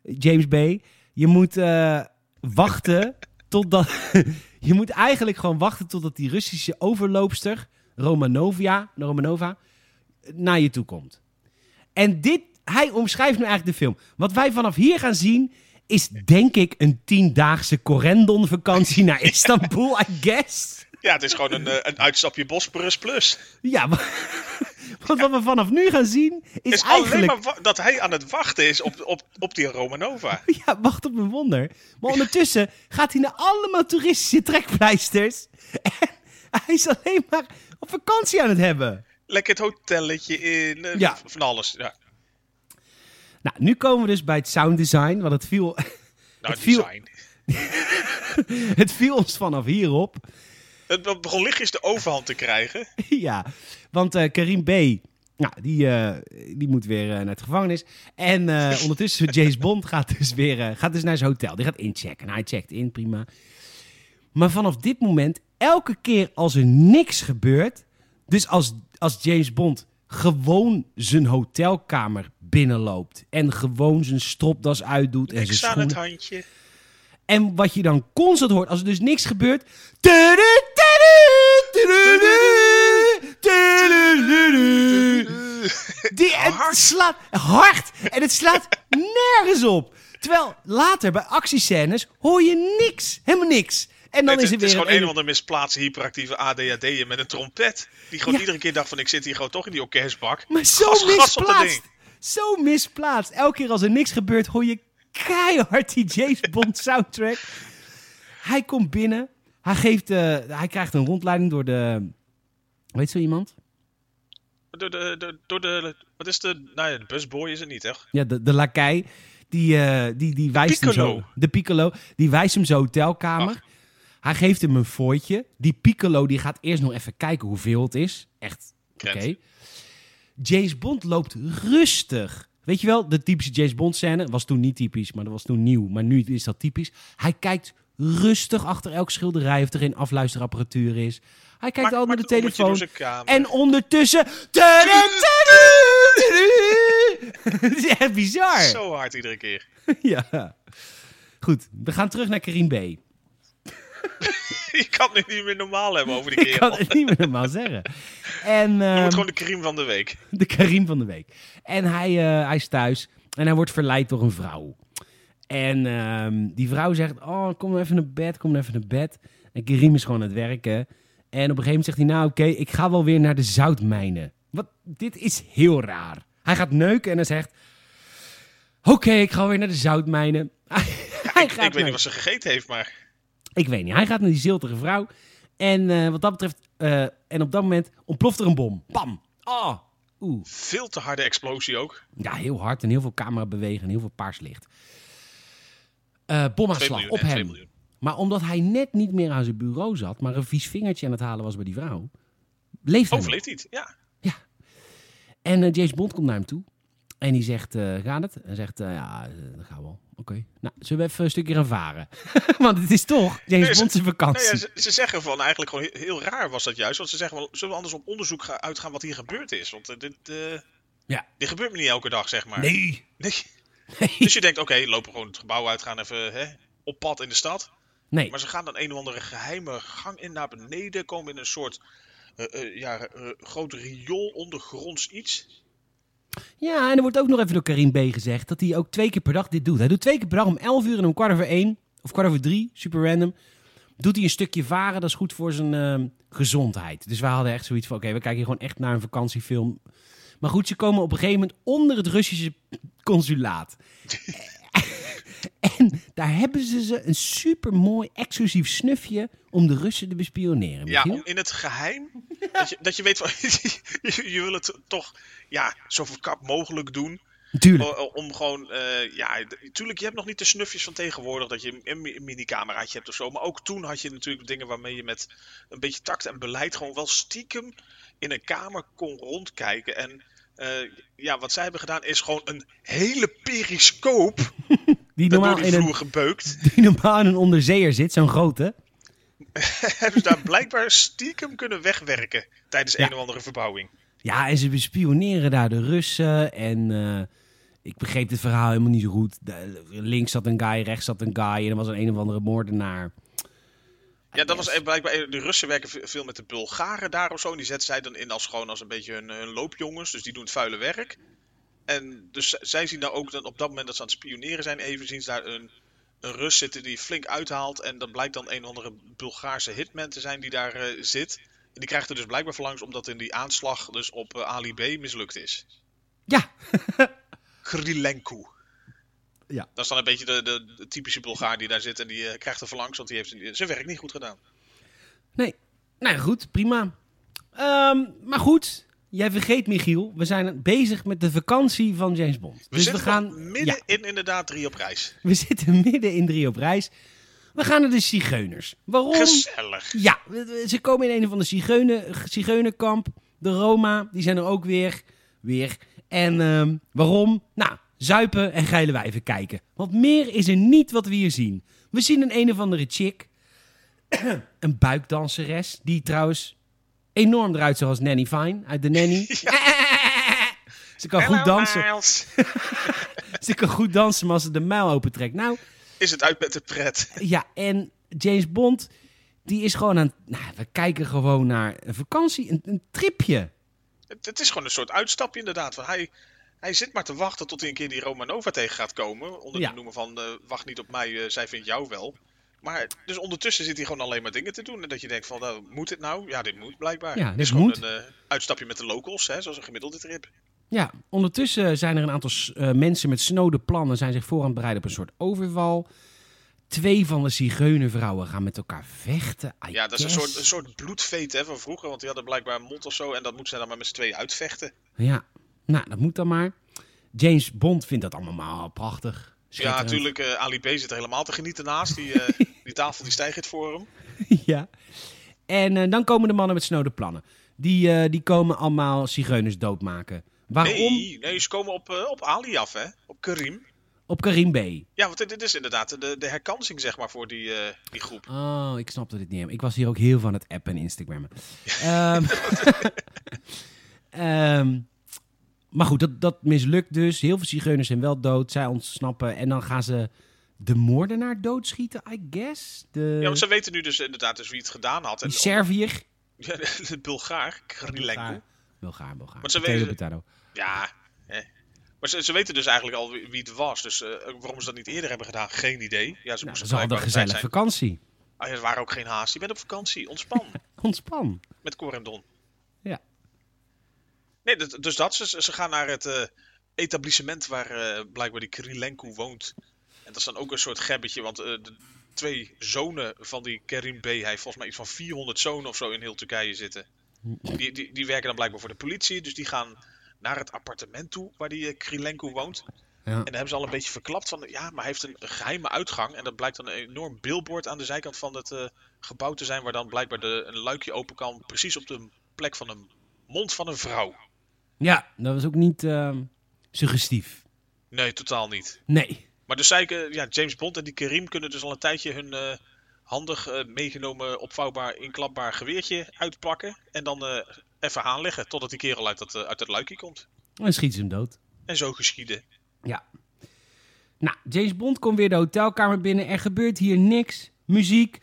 S1: James B., je moet eh, wachten totdat... je moet eigenlijk gewoon wachten totdat die Russische overloopster, Romanovia, Romanova, naar je toe komt. En dit, hij omschrijft nu eigenlijk de film. Wat wij vanaf hier gaan zien, is denk ik een tiendaagse Corendon vakantie naar Istanbul, I guess.
S2: ja, het is gewoon een, eh, een uitstapje Bosporus Plus.
S1: Ja, maar, want wat we vanaf nu gaan zien is,
S2: Het is alleen
S1: eigenlijk...
S2: maar wa- dat hij aan het wachten is op, op, op die Romanova.
S1: Ja, wacht op een wonder. Maar ondertussen gaat hij naar allemaal toeristische trekpleisters. En hij is alleen maar op vakantie aan het hebben.
S2: Lekker het hotelletje in, eh,
S1: Ja.
S2: v- van alles. Ja.
S1: Nou, nu komen we dus bij het sounddesign. Want het viel,
S2: Nou,
S1: Het viel-
S2: design.
S1: het viel ons vanaf hierop.
S2: Het begon lichtjes de overhand te krijgen.
S1: Ja, want eh, Karim B. Nou, die, eh, die moet weer eh, naar de gevangenis. En eh, ondertussen, James Bond gaat dus weer eh, gaat dus naar zijn hotel. Die gaat inchecken. Nou, Hij checkt in, prima. Maar vanaf dit moment, elke keer als er niks gebeurt... Dus als, als James Bond gewoon zijn hotelkamer binnenloopt... en gewoon zijn stropdas uitdoet en zijn
S2: Niks aan
S1: schoenen...
S2: het handje.
S1: En wat je dan constant hoort, als er dus niks gebeurt. tudu, tudu, tudu, tudu, tudu. Die, en het
S2: Oh, Hard.
S1: slaat hard en het slaat nergens op. Terwijl later bij actiescènes hoor je niks, helemaal niks. En dan
S2: het,
S1: is er
S2: het is
S1: weer
S2: gewoon een of
S1: een-
S2: andere misplaatste hyperactieve ADHD'er met een trompet. Die gewoon
S1: Ja.
S2: iedere keer dacht van ik zit hier gewoon toch in die orkestbak.
S1: Maar zo
S2: Gas, gas op dat
S1: misplaatst.
S2: ding.
S1: Zo misplaatst. Elke keer als er niks gebeurt, hoor je keihard die James Bond soundtrack. Hij komt binnen. Hij, geeft, eh, hij krijgt een rondleiding door de... Weet zo iemand?
S2: Door de, de- door de, wat is de, nou ja, de busboy is het niet echt.
S1: Ja, de, de lakai. Die, eh, die, die wijst hem
S2: piccolo.
S1: zo... De piccolo. Die wijst hem zijn hotelkamer. Hij geeft hem een fooitje. Die piccolo die gaat eerst nog even kijken hoeveel het is. Echt, oké.
S2: Krent.
S1: James Bond loopt rustig. Weet je wel, de typische James Bond scène. Was toen niet typisch, maar dat was toen nieuw. Maar nu is dat typisch. Hij kijkt rustig achter elk schilderij of er geen afluisterapparatuur is. Hij kijkt
S2: Maar-
S1: altijd
S2: maar
S1: naar de
S2: dan moet je door
S1: telefoon.
S2: zijn kamer.
S1: En ondertussen... Tudu, tudu, tudu. Het is echt bizar.
S2: Zo hard iedere keer.
S1: Ja. Goed, we gaan terug naar Karim B.
S2: Je kan het nu niet meer normaal hebben over die
S1: Ik
S2: kerel.
S1: kan het niet meer normaal zeggen. En,
S2: Je
S1: ehm,
S2: moet gewoon de kriem van de week.
S1: De Karim van de week. En hij, eh, hij is thuis en hij wordt verleid door een vrouw. En ehm, die vrouw zegt, oh, kom even naar bed, kom even naar bed. En Karim is gewoon aan het werken. En op een gegeven moment zegt hij, nou oké, ik ga wel weer naar de zoutmijnen. Wat, dit is heel raar. Hij gaat neuken en hij zegt, oké, ik ga weer naar de zoutmijnen. Hij
S2: ik
S1: gaat
S2: ik weet
S1: naar-
S2: niet wat ze gegeten heeft, maar...
S1: ik weet niet. Hij gaat naar die ziltige vrouw. En eh, wat dat betreft, eh, en op dat moment ontploft er een bom. Bam! Oh! Oeh.
S2: Veel te harde explosie ook.
S1: Ja, heel hard en heel veel camera bewegen en heel veel paars licht. Eh
S2: 2
S1: bomaanslag
S2: miljoen,
S1: op
S2: hè, 2
S1: hem.
S2: miljoen.
S1: Maar omdat hij net niet meer aan zijn bureau zat, maar een vies vingertje aan het halen was bij die vrouw, leeft hij. nog.
S2: Overleed niet, ja.
S1: En eh, James Bond komt naar hem toe. En die zegt, eh, gaat het? En zegt, eh, ja, eh, dat gaan we wel. Oké. Nou, zullen we even een stukje gaan varen? Want het is toch James
S2: Nee, ze-
S1: Bond zijn vakantie.
S2: Nou ja, ze, ze zeggen van eigenlijk gewoon heel, heel raar was dat juist. Want ze zeggen wel, zullen we anders op onderzoek gaan, uitgaan wat hier gebeurd is? Want eh, dit, eh,
S1: Ja.
S2: dit gebeurt me niet elke dag, zeg maar.
S1: Nee!
S2: Nee.
S1: Nee.
S2: Dus je denkt, oké, lopen we gewoon het gebouw uit, gaan even hè, op pad in de stad.
S1: Nee.
S2: Maar ze gaan dan een of andere geheime gang in naar beneden, komen in een soort eh, eh, ja, eh, groot riool ondergronds iets.
S1: Ja, en er wordt ook nog even door Karim B. gezegd dat hij ook twee keer per dag dit doet. Hij doet twee keer per dag om 11 uur en om kwart over één, of kwart over drie, super random. Doet hij een stukje varen, dat is goed voor zijn ehm, gezondheid. Dus wij hadden echt zoiets van, oké, we kijken hier gewoon echt naar een vakantiefilm. Maar goed, ze komen op een gegeven moment onder het Russische consulaat. en daar hebben ze ze een super mooi exclusief snufje om de Russen te bespioneren.
S2: Ja,
S1: Michiel?
S2: om in het geheim. Dat, je, dat je weet van, je, je wil het toch ja, zo verkap mogelijk doen.
S1: Tuurlijk.
S2: O- Om gewoon, eh, ja, d- tuurlijk, je hebt nog niet de snufjes van tegenwoordig dat je een, mi- een minicameraatje hebt of zo. Maar ook toen had je natuurlijk dingen waarmee je met een beetje tact en beleid gewoon wel stiekem in een kamer kon rondkijken. En eh, ja, wat zij hebben gedaan is gewoon een hele periscoop
S1: Die
S2: door
S1: normaal,
S2: die
S1: in een,
S2: vloer gebeukt.
S1: die normaal in een onderzeeër zit, zo'n grote.
S2: hebben ze daar blijkbaar stiekem kunnen wegwerken tijdens
S1: Ja.
S2: een of andere verbouwing.
S1: Ja, en ze bespioneren daar de Russen. En eh, ik begreep het verhaal helemaal niet zo goed. De- links zat een guy, rechts zat een guy. En er was een een of andere moordenaar.
S2: Ja, dat was eh, blijkbaar. eh, De Russen werken ve- veel met de Bulgaren daar of zo. En die zetten zij dan in als gewoon als een beetje hun, hun loopjongens. Dus die doen het vuile werk. En dus z- zij zien daar ook dan op dat moment dat ze aan het spioneren zijn, even zien ze daar een, een Rus zitten die flink uithaalt. En dat blijkt dan een of andere Bulgaarse hitman te zijn die daar eh, zit. En die krijgt er dus blijkbaar voor langs omdat in die aanslag dus op eh, Ali B mislukt is.
S1: Ja,
S2: Krilenko.
S1: Ja.
S2: Dat is dan een beetje de, de, de typische Bulgaar die daar zit. En die eh, krijgt er verlangs, want die heeft zijn werk niet goed gedaan.
S1: nee. Nou ja, goed, prima. Ehm, maar goed, jij vergeet Michiel. We zijn bezig met de vakantie van James Bond.
S2: We
S1: dus we
S2: zitten nog
S1: gaan.
S2: midden
S1: ja,
S2: in inderdaad drie op reis.
S1: we zitten midden in drie op reis. We gaan naar de Zigeuners. Waarom?
S2: Gezellig.
S1: Ja, ze komen in een van de zigeunen, zigeunerkamp. De Roma, die zijn er ook weer. weer. En ehm, waarom? Nou, zuipen en geile wijven kijken. Want meer is er niet wat we hier zien. We zien een een of andere chick. een buikdanseres. Die trouwens enorm eruit zag als Nanny Fine. Uit de Nanny. ze kan goed dansen. Ze kan goed dansen, maar als ze de muil opentrekt. Nou,
S2: Is het uit met de pret?
S1: ja, en James Bond, die is gewoon aan... Nou, we kijken gewoon naar een vakantie, een, een tripje.
S2: Het, het is gewoon een soort uitstapje inderdaad. Van hij, hij zit maar te wachten tot hij een keer die Romanova tegen gaat komen. Onder
S1: Ja.
S2: de noemer van eh, wacht niet op mij, eh, zij vindt jou wel. Maar dus ondertussen zit hij gewoon alleen maar dingen te doen. En dat je denkt van, nou, moet dit nou? Ja, dit moet blijkbaar.
S1: Ja,
S2: Het
S1: dit
S2: is gewoon
S1: moet.
S2: een eh, uitstapje met de locals, hè, zoals een gemiddelde trip.
S1: Ja, ondertussen zijn er een aantal s- eh, mensen met snode plannen... zijn zich voor aan het bereiden op een soort overval. Twee van de zigeunervrouwen gaan met elkaar vechten. I
S2: Ja, dat is een
S1: guess.
S2: soort, een soort bloedveet hè, van vroeger. Want die hadden blijkbaar een mond of zo. En dat moeten ze dan maar met z'n tweeën uitvechten.
S1: Ja, nou, dat moet dan maar. James Bond vindt dat allemaal maar prachtig.
S2: Ja,
S1: Schitterend.
S2: natuurlijk. eh, Ali B zit er helemaal te genieten naast. Die, eh, die tafel die stijgt voor hem.
S1: ja. En eh, dan komen de mannen met snode plannen. Die, eh, die komen allemaal zigeuners doodmaken. Waarom?
S2: Nee, nee, ze komen op, eh, op Ali af, hè? Op Karim.
S1: Op Karim B.
S2: Ja, want dit, dit is inderdaad de, de herkansing, zeg maar, voor die, eh, die groep.
S1: Oh, ik snapte dit niet. helemaal. Ik was hier ook heel van het appen en Instagrammen. Ehm, ehm, maar goed, dat, dat mislukt dus. Heel veel zigeuners zijn wel dood. Zij ontsnappen. En dan gaan ze de moordenaar doodschieten, I guess. De,
S2: Ja, want ze weten nu dus inderdaad dus wie het gedaan had. En
S1: die Serviër.
S2: Ja, de Bulgaar, Krilenko.
S1: Bulgaar, Bulgaar.
S2: Want ze
S1: Potato,
S2: weten-
S1: potato.
S2: Ja, hè. Maar ze, ze weten dus eigenlijk al wie wie het was. Dus eh, waarom ze dat niet eerder hebben gedaan, geen idee. Ja, ze
S1: Nou,
S2: moesten
S1: dat is al een
S2: blijkbaar op tijd
S1: gezellige
S2: zijn.
S1: vakantie.
S2: Ah, ja, er waren ook geen haast. Je bent op vakantie, ontspan.
S1: Ontspan.
S2: Met Cor en Don.
S1: Ja.
S2: Nee, dat- dus dat. Ze, ze gaan naar het eh, etablissement waar eh, blijkbaar die Kirilenko woont. En dat is dan ook een soort gebbetje, want eh, de twee zonen van die Kerim B. Hij heeft volgens mij iets van 400 zonen of zo in heel Turkije zitten. Die, die, die werken dan blijkbaar voor de politie, dus die gaan naar het appartement toe waar die eh, Kirilenko woont. En daar hebben ze al een beetje verklapt van, ja, maar hij heeft een geheime uitgang. En dat blijkt dan een enorm billboard aan de zijkant van het eh, gebouw te zijn, waar dan blijkbaar de, een luikje open kan, precies op de plek van een mond van een vrouw.
S1: Ja, dat was ook niet ehm, suggestief.
S2: Nee, totaal niet.
S1: Nee.
S2: Maar dus zei ik, eh, ja, James Bond en die Karim kunnen dus al een tijdje hun eh, handig eh, meegenomen, opvouwbaar, inklapbaar geweertje uitpakken. En dan eh, even aanleggen totdat die kerel uit dat, eh, uit dat luikje komt.
S1: En schiet ze hem dood.
S2: En zo geschieden.
S1: Ja. Nou, James Bond komt weer de hotelkamer binnen. Er gebeurt hier niks. Muziek.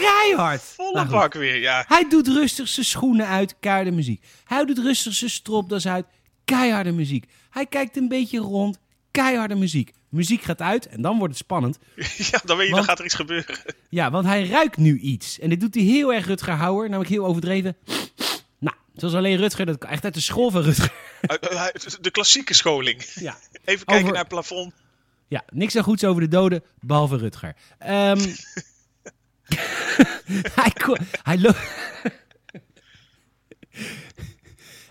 S1: Keihard.
S2: Volle
S1: Maar Nou goed.
S2: bak weer, ja.
S1: Hij doet rustig zijn schoenen uit, keiharde muziek. Hij doet rustig zijn stropdas uit, keiharde muziek. Hij kijkt een beetje rond, keiharde muziek. Muziek gaat uit en dan wordt het spannend.
S2: ja, dan weet je, dan
S1: Want-
S2: gaat er iets gebeuren.
S1: Ja, want hij ruikt nu iets. En dit doet hij heel erg Rutger Hauer, namelijk heel overdreven. Nou, zoals alleen Rutger, dat kan echt uit de school van Rutger.
S2: Uit- uit De klassieke scholing.
S1: Ja,
S2: Even kijken
S1: Over-
S2: naar het plafond.
S1: ja niks zo goeds over de doden, behalve Rutger. Ehm, hij, ko- hij, lo- hij,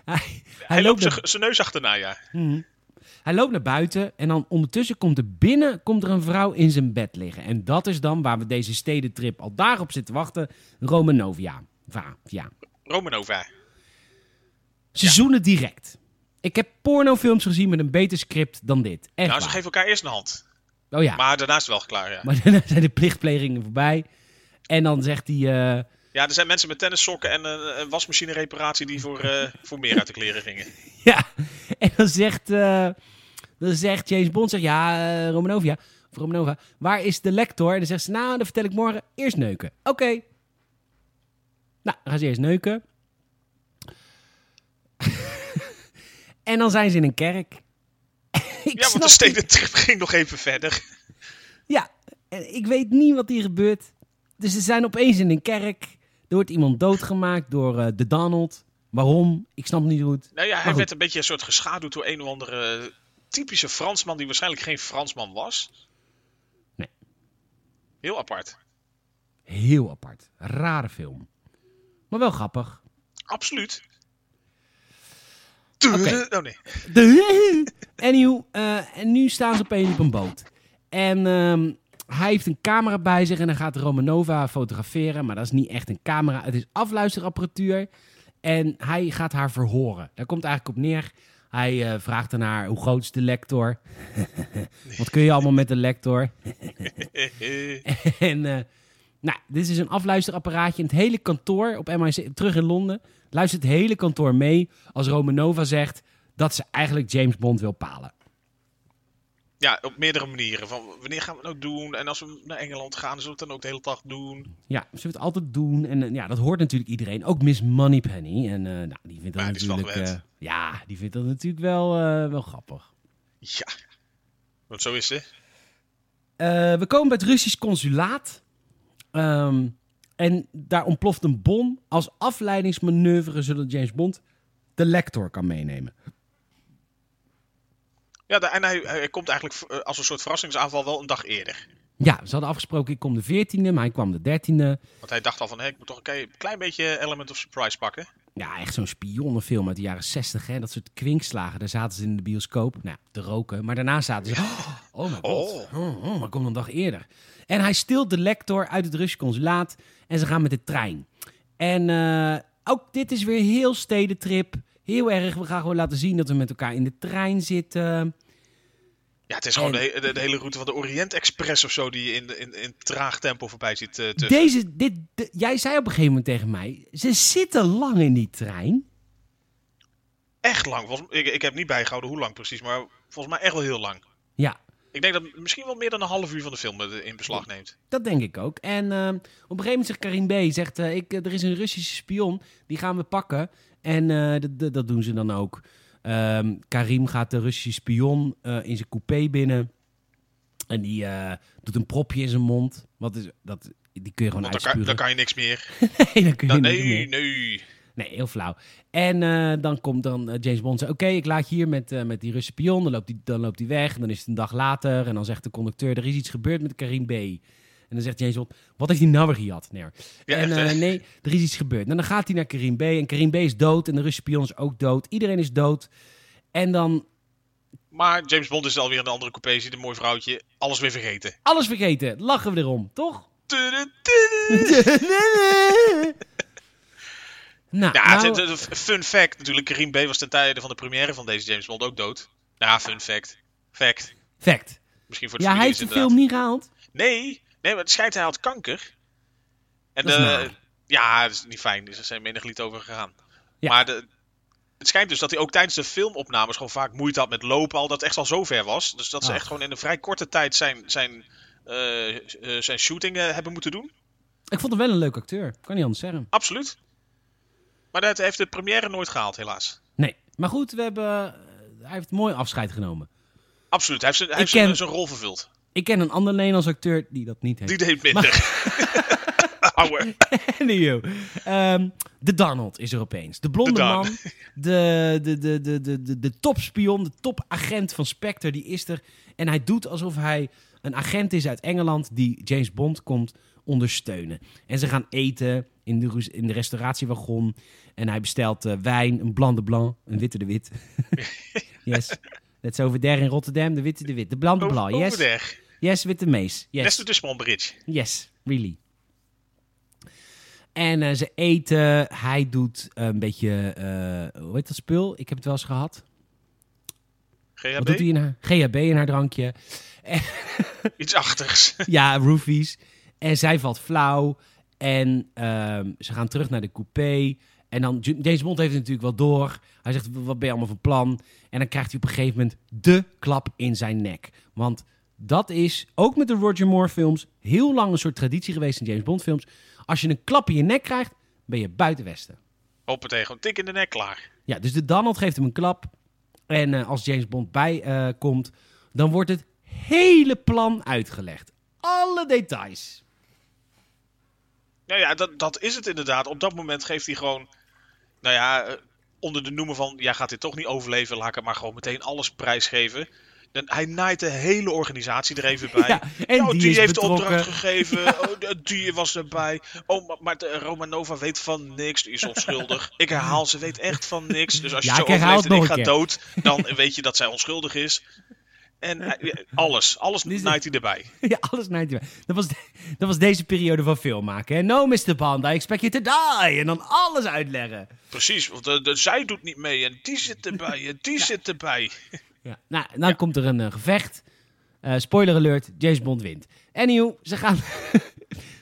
S1: hij,
S2: Hij loopt
S1: naar-
S2: zijn- zijn neus achterna, ja.
S1: Hij loopt naar buiten en dan ondertussen komt er binnen komt er een vrouw in zijn bed liggen. En dat is dan waar we deze stedentrip al daarop zitten wachten. Romanovia. Va, ja.
S2: Romanova.
S1: Ze zoenen direct. Ik heb pornofilms gezien met een beter script dan dit. Echt
S2: Nou, ze
S1: waar.
S2: geven elkaar eerst een hand.
S1: Oh ja, maar,
S2: Maar daarnaast wel klaar, ja.
S1: daarna zijn de plichtplegingen voorbij. En dan zegt hij... eh,
S2: Ja, er zijn mensen met tennissokken en eh, een wasmachine reparatie die voor, eh, voor meer uit de kleren gingen.
S1: ja, en dan zegt, eh, dan zegt James Bond... Zegt, ja, eh, Romanovia, of Romanova, waar is de lector? En dan zegt ze, nou, dat vertel ik morgen. Eerst neuken. Oké. Nou, dan gaan ze eerst neuken. en dan zijn ze in een kerk. Ik
S2: ja, want
S1: snap
S2: de
S1: niet-
S2: stedentrip ging nog even verder.
S1: Ja, en ik weet niet wat hier gebeurt. Dus ze zijn opeens in een kerk. Er wordt iemand doodgemaakt door eh, de Donald. Waarom? Ik snap het niet goed.
S2: Nou ja, hij
S1: goed.
S2: werd een beetje een soort geschaduwd door een of andere eh, typische Fransman die waarschijnlijk geen Fransman was.
S1: Nee.
S2: Heel apart.
S1: Heel apart. Rare film. Maar wel grappig.
S2: Absoluut.
S1: Oké.
S2: Oh nee.
S1: De... Anyhow, eh, en nu staan ze opeens op een boot. En ehm, hij heeft een camera bij zich en dan gaat Romanova fotograferen. Maar dat is niet echt een camera, het is afluisterapparatuur. En hij gaat haar verhoren. Daar komt het eigenlijk op neer. Hij eh, vraagt aan haar, hoe groot is de lector? Wat kun je allemaal met de lector? en eh, nou, dit is een afluisterapparaatje. En het hele kantoor op MIC, terug in Londen, luistert het hele kantoor mee als Romanova zegt dat ze eigenlijk James Bond wil palen.
S2: ja, op meerdere manieren. Van wanneer gaan we het nou doen? En als we naar Engeland gaan, zullen we het dan ook de hele dag doen?
S1: Ja, ze wil het altijd doen. En eh, ja, dat hoort natuurlijk iedereen. Ook Miss Moneypenny. En eh, nou, die vindt dat
S2: Maar die is wel
S1: natuurlijk...
S2: gewend.
S1: eh, ja, die vindt dat natuurlijk wel, eh, wel grappig.
S2: Ja. Want zo is het. hè?
S1: Eh, we komen bij het Russisch consulaat. Ehm, en daar ontploft een bom. Als afleidingsmanoeuvre zullen James Bond de lector kan meenemen.
S2: Ja, da- en hij, hij komt eigenlijk eh, als een soort verrassingsaanval wel een dag eerder.
S1: Ja, ze hadden afgesproken, ik kom de 14e, maar hij kwam de 13e.
S2: Want hij dacht al van, hé, ik moet toch een ke- klein beetje Element of Surprise pakken.
S1: Ja, echt zo'n spionnenfilm uit de jaren 60, hè? Dat soort kwinkslagen. Daar zaten ze in de bioscoop, nou, ja, te roken. Maar daarna zaten ze... Oh, mijn god.
S2: Oh.
S1: Oh, oh, maar kom een dag eerder. En hij stilt de lector uit het Russische consulaat. En ze gaan met de trein. En eh, ook dit is weer heel stedentrip. Heel erg. We gaan gewoon laten zien dat we met elkaar in de trein zitten.
S2: Ja, het is gewoon
S1: En-
S2: de, he- de, de hele route van de Orient Express of zo die je in, in, in traag tempo voorbij ziet. eh, tussen.
S1: Deze, dit, de- jij zei op een gegeven moment tegen mij... Ze zitten lang in die trein.
S2: Echt lang. Volgens, ik, ik heb niet bijgehouden hoe lang precies, maar volgens mij echt wel heel lang.
S1: Ja,
S2: Ik denk dat misschien wel meer dan een half uur van de film eh, in
S1: Oh,
S2: beslag neemt.
S1: Dat denk ik ook. En ehm, op een gegeven moment zegt Karim B. Zegt, eh, ik, eh, er is een Russische spion, die gaan we pakken. En eh, dat- dat- dat doen ze dan ook. Ehm, Karim gaat de Russische spion eh, in zijn coupé binnen. En die eh, doet een propje in zijn mond. Wat is, dat Die kun je gewoon
S2: Want dan kan,
S1: uitspuren.
S2: dan kan je niks meer.
S1: nee, dan kun je
S2: Dan,
S1: niks meer.
S2: nee, nee.
S1: Nee, heel flauw. En eh, dan komt dan eh, James Bond zegt, oké, ik laat je hier met, eh, met die Russische pion. Dan loopt die, dan loopt die weg. En dan is het een dag later. En dan zegt de conducteur, er is iets gebeurd met Karim B. En dan zegt James Bond, wat heeft hij nou weer gejat? Nee, hoor.
S2: Ja,
S1: en
S2: echt, hè?
S1: eh, nee, er is iets gebeurd. En dan gaat hij naar Karim B. En Karim B is dood. En de Russische pion is ook dood. Iedereen is dood. En dan
S2: Maar James Bond is alweer in de andere coupé, ziet een mooi vrouwtje, alles weer vergeten.
S1: alles vergeten. Lachen we erom, toch?
S2: Tudu, tudu.
S1: nou,
S2: Ja,
S1: nou,
S2: het- het- het- fun fact natuurlijk, Karim B. was ten tijde van de première van deze James Bond ook dood. Ja, fun fact. Fact.
S1: fact.
S2: Misschien voor de
S1: Ja, hij
S2: familie
S1: heeft
S2: is
S1: de
S2: inderdaad.
S1: film niet gehaald.
S2: Nee, nee, maar het schijnt hij had kanker. En
S1: Dat is
S2: de-
S1: naar.
S2: ja, dat is niet fijn. Dus er zijn menig lied over gegaan.
S1: Ja.
S2: Maar de, het schijnt dus dat hij ook tijdens de filmopnames gewoon vaak moeite had met lopen, al dat het echt al zo ver was. Dus dat ze
S1: Ach.
S2: echt gewoon in een vrij korte tijd zijn, zijn, eh, eh, zijn shooting eh, hebben moeten doen.
S1: Ik vond hem wel een leuk acteur. Kan niet anders zeggen.
S2: Absoluut. Maar dat heeft de première nooit gehaald, helaas.
S1: Nee. Maar goed, we hebben, eh, hij heeft mooi afscheid genomen.
S2: Absoluut. Hij heeft zijn, hij
S1: Ik
S2: heeft
S1: ken-
S2: zijn, zijn rol vervuld.
S1: Ik ken een ander Nederlands acteur die dat niet heeft.
S2: Die deed minder. Ouwe.
S1: nee, joh. Ehm, de Donald is er opeens. De blonde
S2: De Don.
S1: man. De, de, de, de, de, de, de topspion, de topagent van Spectre, die is er. En hij doet alsof hij een agent is uit Engeland die James Bond komt ondersteunen. En ze gaan eten in de, roes- in de restauratiewagon. En hij bestelt eh, wijn, een blanc de blanc, een witte de wit. yes. That's over there in Rotterdam, de witte de wit. De blanc de blanc,
S2: Over
S1: yes.
S2: there.
S1: Yes, witte mees. Yes.
S2: Next to the small bridge.
S1: Yes, really. En eh, ze eten. Hij doet eh, een beetje. eh, hoe heet dat spul? Ik heb het wel eens gehad. Wat doet hij
S2: GHB?
S1: in haar? GHB in haar drankje.
S2: Iets achters.
S1: ja, roofies. En zij valt flauw. En ehm, ze gaan terug naar de coupé. En dan, J- James Bond heeft het natuurlijk wel door. Hij zegt, wat ben je allemaal van plan? En dan krijgt hij op een gegeven moment de klap in zijn nek. Want dat is, ook met de Roger Moore films, heel lang een soort traditie geweest in James Bond films. Als je een klap in je nek krijgt, ben je buiten Westen.
S2: Hoppatee, gewoon tik in de nek, klaar.
S1: Ja, dus de Donald geeft hem een klap. En eh, als James Bond bij eh, komt, dan wordt het hele plan uitgelegd. Alle details.
S2: Nou ja, dat, dat is het inderdaad. Op dat moment geeft hij gewoon, nou ja, eh, onder de noemer van, ja, gaat dit toch niet overleven, laat ik het maar gewoon meteen alles prijsgeven. Dan, hij naait de hele organisatie er even bij.
S1: Ja, en
S2: Nou,
S1: die
S2: die,
S1: is
S2: heeft
S1: betrokken.
S2: de opdracht gegeven. Oh, de- die was erbij. Oh, maar, maar de Romanova weet van niks. Die is onschuldig. ik herhaal, ze weet echt van niks. Dus als je
S1: Ja,
S2: zo
S1: ik herhaal
S2: overleeft en ik
S1: het
S2: ga
S1: nog
S2: dood, dan weet je dat zij onschuldig is. En hij- alles, alles
S1: Dit is-
S2: naait hij erbij.
S1: Ja, alles 90. Dat was, dat was deze periode van filmmaken. Hè? No, Mr. Bond, I expect you to die. En dan alles uitleggen.
S2: Precies, want eh, de, de- zij doet niet mee en die zit erbij en die zit erbij.
S1: Ja. Nou, dan komt er een eh, gevecht. Eh, spoiler alert, James Bond wint. Anyhow, ze gaan...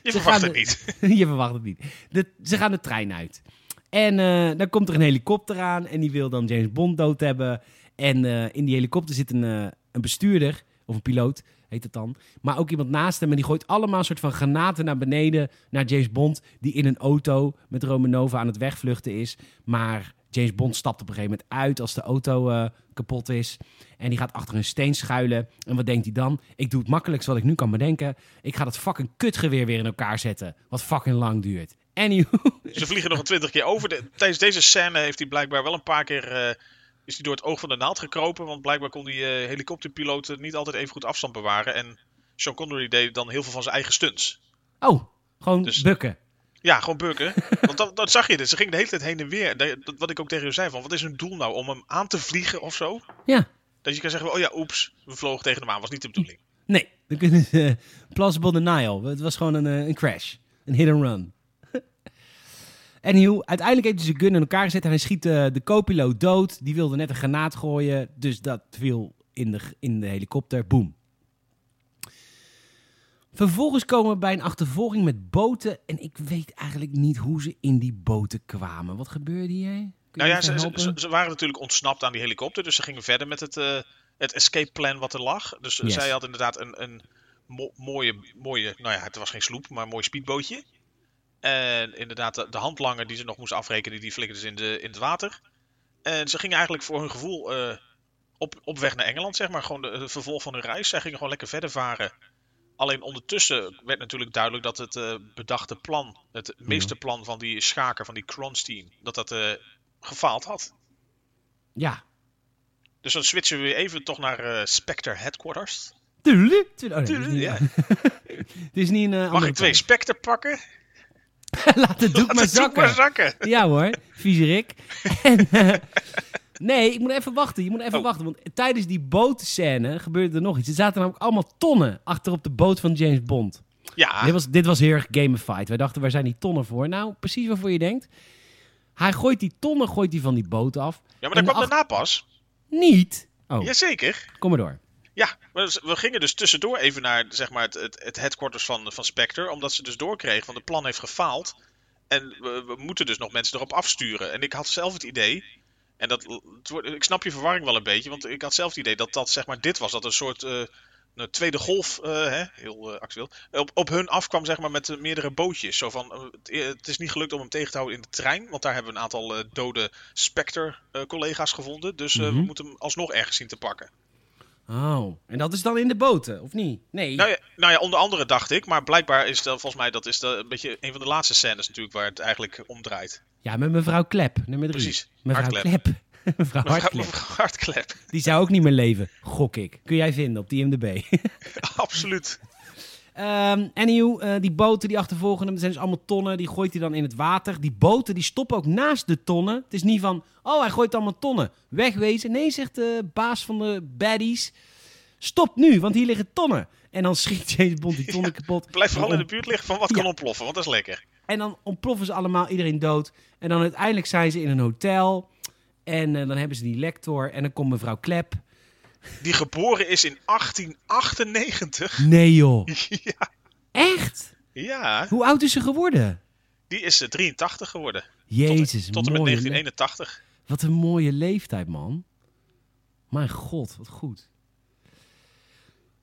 S2: Je
S1: Ze
S2: verwacht
S1: gaan
S2: het
S1: de-
S2: niet.
S1: je verwacht het niet. De- ze gaan de trein uit. En eh, dan komt er een helikopter aan en die wil dan James Bond dood hebben. En eh, in die helikopter zit een, eh, een bestuurder, of een piloot heet het dan. Maar ook iemand naast hem en die gooit allemaal een soort van granaten naar beneden naar James Bond. Die in een auto met Romanova aan het wegvluchten is. Maar James Bond stapt op een gegeven moment uit als de auto eh, kapot is. En die gaat achter een steen schuilen. En wat denkt hij dan? Ik doe het makkelijkst wat ik nu kan bedenken. Ik ga dat fucking kutgeweer weer in elkaar zetten. Wat fucking lang duurt. Anywho.
S2: Ze vliegen nog een twintig keer over. De- tijdens deze scène heeft hij blijkbaar wel een paar keer... eh, is hij door het oog van de naald gekropen. Want blijkbaar kon die eh helikopterpiloot niet altijd even goed afstand bewaren. En Sean Connery deed dan heel veel van zijn eigen stunts.
S1: Oh, gewoon
S2: Dus-
S1: bukken.
S2: Ja, gewoon bukken. Want dat, dat zag je dus. Ze ging de hele tijd heen en weer. De- dat- wat ik ook tegen je zei, van, wat is hun doel nou? Om hem aan te vliegen of zo?
S1: Ja.
S2: Dat je kan zeggen, oh ja, oeps, we vlogen tegen hem aan. Was niet de bedoeling.
S1: Nee, dan kunnen ze plausible denial. Het was gewoon een, eh, een crash. Een hit and run. Anyhow, uiteindelijk heeft hij zijn gun in elkaar gezet en hij schiet eh, de co dood. Die wilde net een granaat gooien, dus dat viel in de, in de helikopter. Boom. Vervolgens komen we bij een achtervolging met boten en ik weet eigenlijk niet hoe ze in die boten kwamen. Wat gebeurde hier? Kun je
S2: Nou ja,
S1: me
S2: ze, ze,
S1: helpen?
S2: ze- ze waren natuurlijk ontsnapt aan die helikopter, dus ze gingen verder met het, eh, het escape plan wat er lag. Dus
S1: Yes.
S2: zij had inderdaad een, een mo- mooie, mooie, nou ja, het was geen sloep, maar een mooi speedbootje. En inderdaad, de, de handlanger die ze nog moest afrekenen, die flikkerde ze in, de, in het water. En ze gingen eigenlijk voor hun gevoel eh, op, op weg naar Engeland, zeg maar. Gewoon de, het vervolg van hun reis. Zij gingen gewoon lekker verder varen. Alleen ondertussen werd natuurlijk duidelijk dat het eh, bedachte plan, het meesterplan van die schaker, van die Kronstein, dat dat eh, gefaald had.
S1: Ja.
S2: Dus dan switchen we weer even toch naar eh, Spectre Headquarters.
S1: Tuurlijk. tuurlijk. Oh, nee, dit is
S2: Tuurlijk,
S1: niet-
S2: ja.
S1: Het is niet een eh,
S2: Mag
S1: andere
S2: ik twee
S1: kant.
S2: Spectre pakken?
S1: Laat het doek
S2: Laat
S1: maar
S2: het doek
S1: zakken.
S2: maar zakken.
S1: Ja hoor, vieze Rick. En, eh, nee, ik moet even wachten. Je moet even
S2: Oh.
S1: wachten. Want tijdens die bootscène gebeurde er nog iets. Er zaten namelijk allemaal tonnen achter op de boot van James Bond. Dit,
S2: Ja,
S1: was, dit was heel erg gamified. Wij dachten, waar zijn die tonnen voor? Nou, precies waarvoor je denkt. Hij gooit die tonnen gooit die van die boot af.
S2: ja maar
S1: en
S2: dat kwam
S1: ach-
S2: daarna pas.
S1: Niet. Oh,
S2: Jazeker.
S1: kom maar door.
S2: Ja, we, we gingen dus tussendoor even naar zeg maar, het, het, het headquarters van, van Spectre. Omdat ze dus doorkregen van het plan heeft gefaald. En we, we moeten dus nog mensen erop afsturen. En ik had zelf het idee. En dat, het wordt- ik snap je verwarring wel een beetje. Want ik had zelf het idee dat dat zeg maar dit was. Dat een soort eh, een tweede golf, eh, hè, heel eh actueel, op, op hun afkwam zeg maar, met eh, meerdere bootjes. Zo van, eh, het, eh, het is niet gelukt om hem tegen te houden in de trein. Want daar hebben we een aantal eh, dode Spectre-collega's gevonden. Dus eh,
S1: Mhm.
S2: we moeten hem alsnog ergens zien te pakken.
S1: Oh, en dat is dan in de boten, of niet? Nee.
S2: Nou ja, nou ja, onder andere dacht ik, maar blijkbaar is dat volgens mij dat is de, een beetje een van de laatste scènes natuurlijk waar het eigenlijk om draait.
S1: Ja, met mevrouw Klep, nummer drie.
S2: Precies,
S1: Mevrouw
S2: Hartklep.
S1: Klep. mevrouw Hartklep.
S2: Mevrouw Hartklep,
S1: Die zou ook niet meer leven, gok ik. Kun jij vinden op die IMDb.
S2: absoluut.
S1: Ehm anyhow, eh, die boten die achtervolgen hem, dat zijn dus allemaal tonnen. Die gooit hij dan in het water. Die boten die stoppen ook naast de tonnen. Het is niet van, oh hij gooit allemaal tonnen. Wegwezen. Nee, zegt de baas van de baddies. Stop nu, want hier liggen tonnen. En dan schiet James Bond die tonnen kapot.
S2: Blijf vooral
S1: En
S2: in de
S1: dan-
S2: buurt liggen van wat kan ontploffen, want dat is lekker.
S1: En dan ontploffen ze allemaal, iedereen dood. En dan uiteindelijk zijn ze in een hotel. En eh, dan hebben ze die lector. En dan komt mevrouw Klep.
S2: Die geboren is in 1898.
S1: Nee joh.
S2: ja,
S1: Echt?
S2: ja,
S1: Hoe oud is ze geworden?
S2: die is eh, 83 geworden. Tot en-
S1: Jezus,
S2: tot, en met
S1: mooie le-
S2: 1981.
S1: Wat een mooie leeftijd, man. Mijn god, wat goed.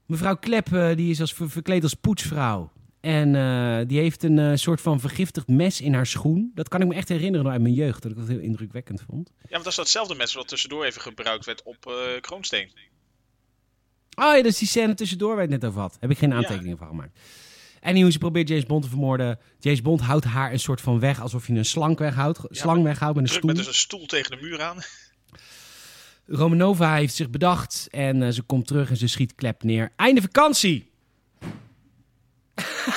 S1: Mevrouw Klep eh, die is als, ver- verkleed als poetsvrouw. En eh, die heeft een eh, soort van vergiftigd mes in haar schoen. Dat kan ik me echt herinneren uit mijn jeugd, dat ik dat heel indrukwekkend vond.
S2: Ja, want dat is datzelfde mes wat tussendoor even gebruikt werd op eh, Kroonsteen.
S1: Oh ja, dat is die scène tussendoor waar je het net over had. Heb ik geen aantekeningen van gemaakt. En hoe ze probeert James Bond te vermoorden. James Bond houdt haar een soort van weg, alsof je een slang weghoudt, slang weghoudt met een
S2: Druk
S1: stoel.
S2: met dus een stoel tegen de muur aan.
S1: Romanova heeft zich bedacht en eh, ze komt terug en ze schiet klep neer. Einde vakantie!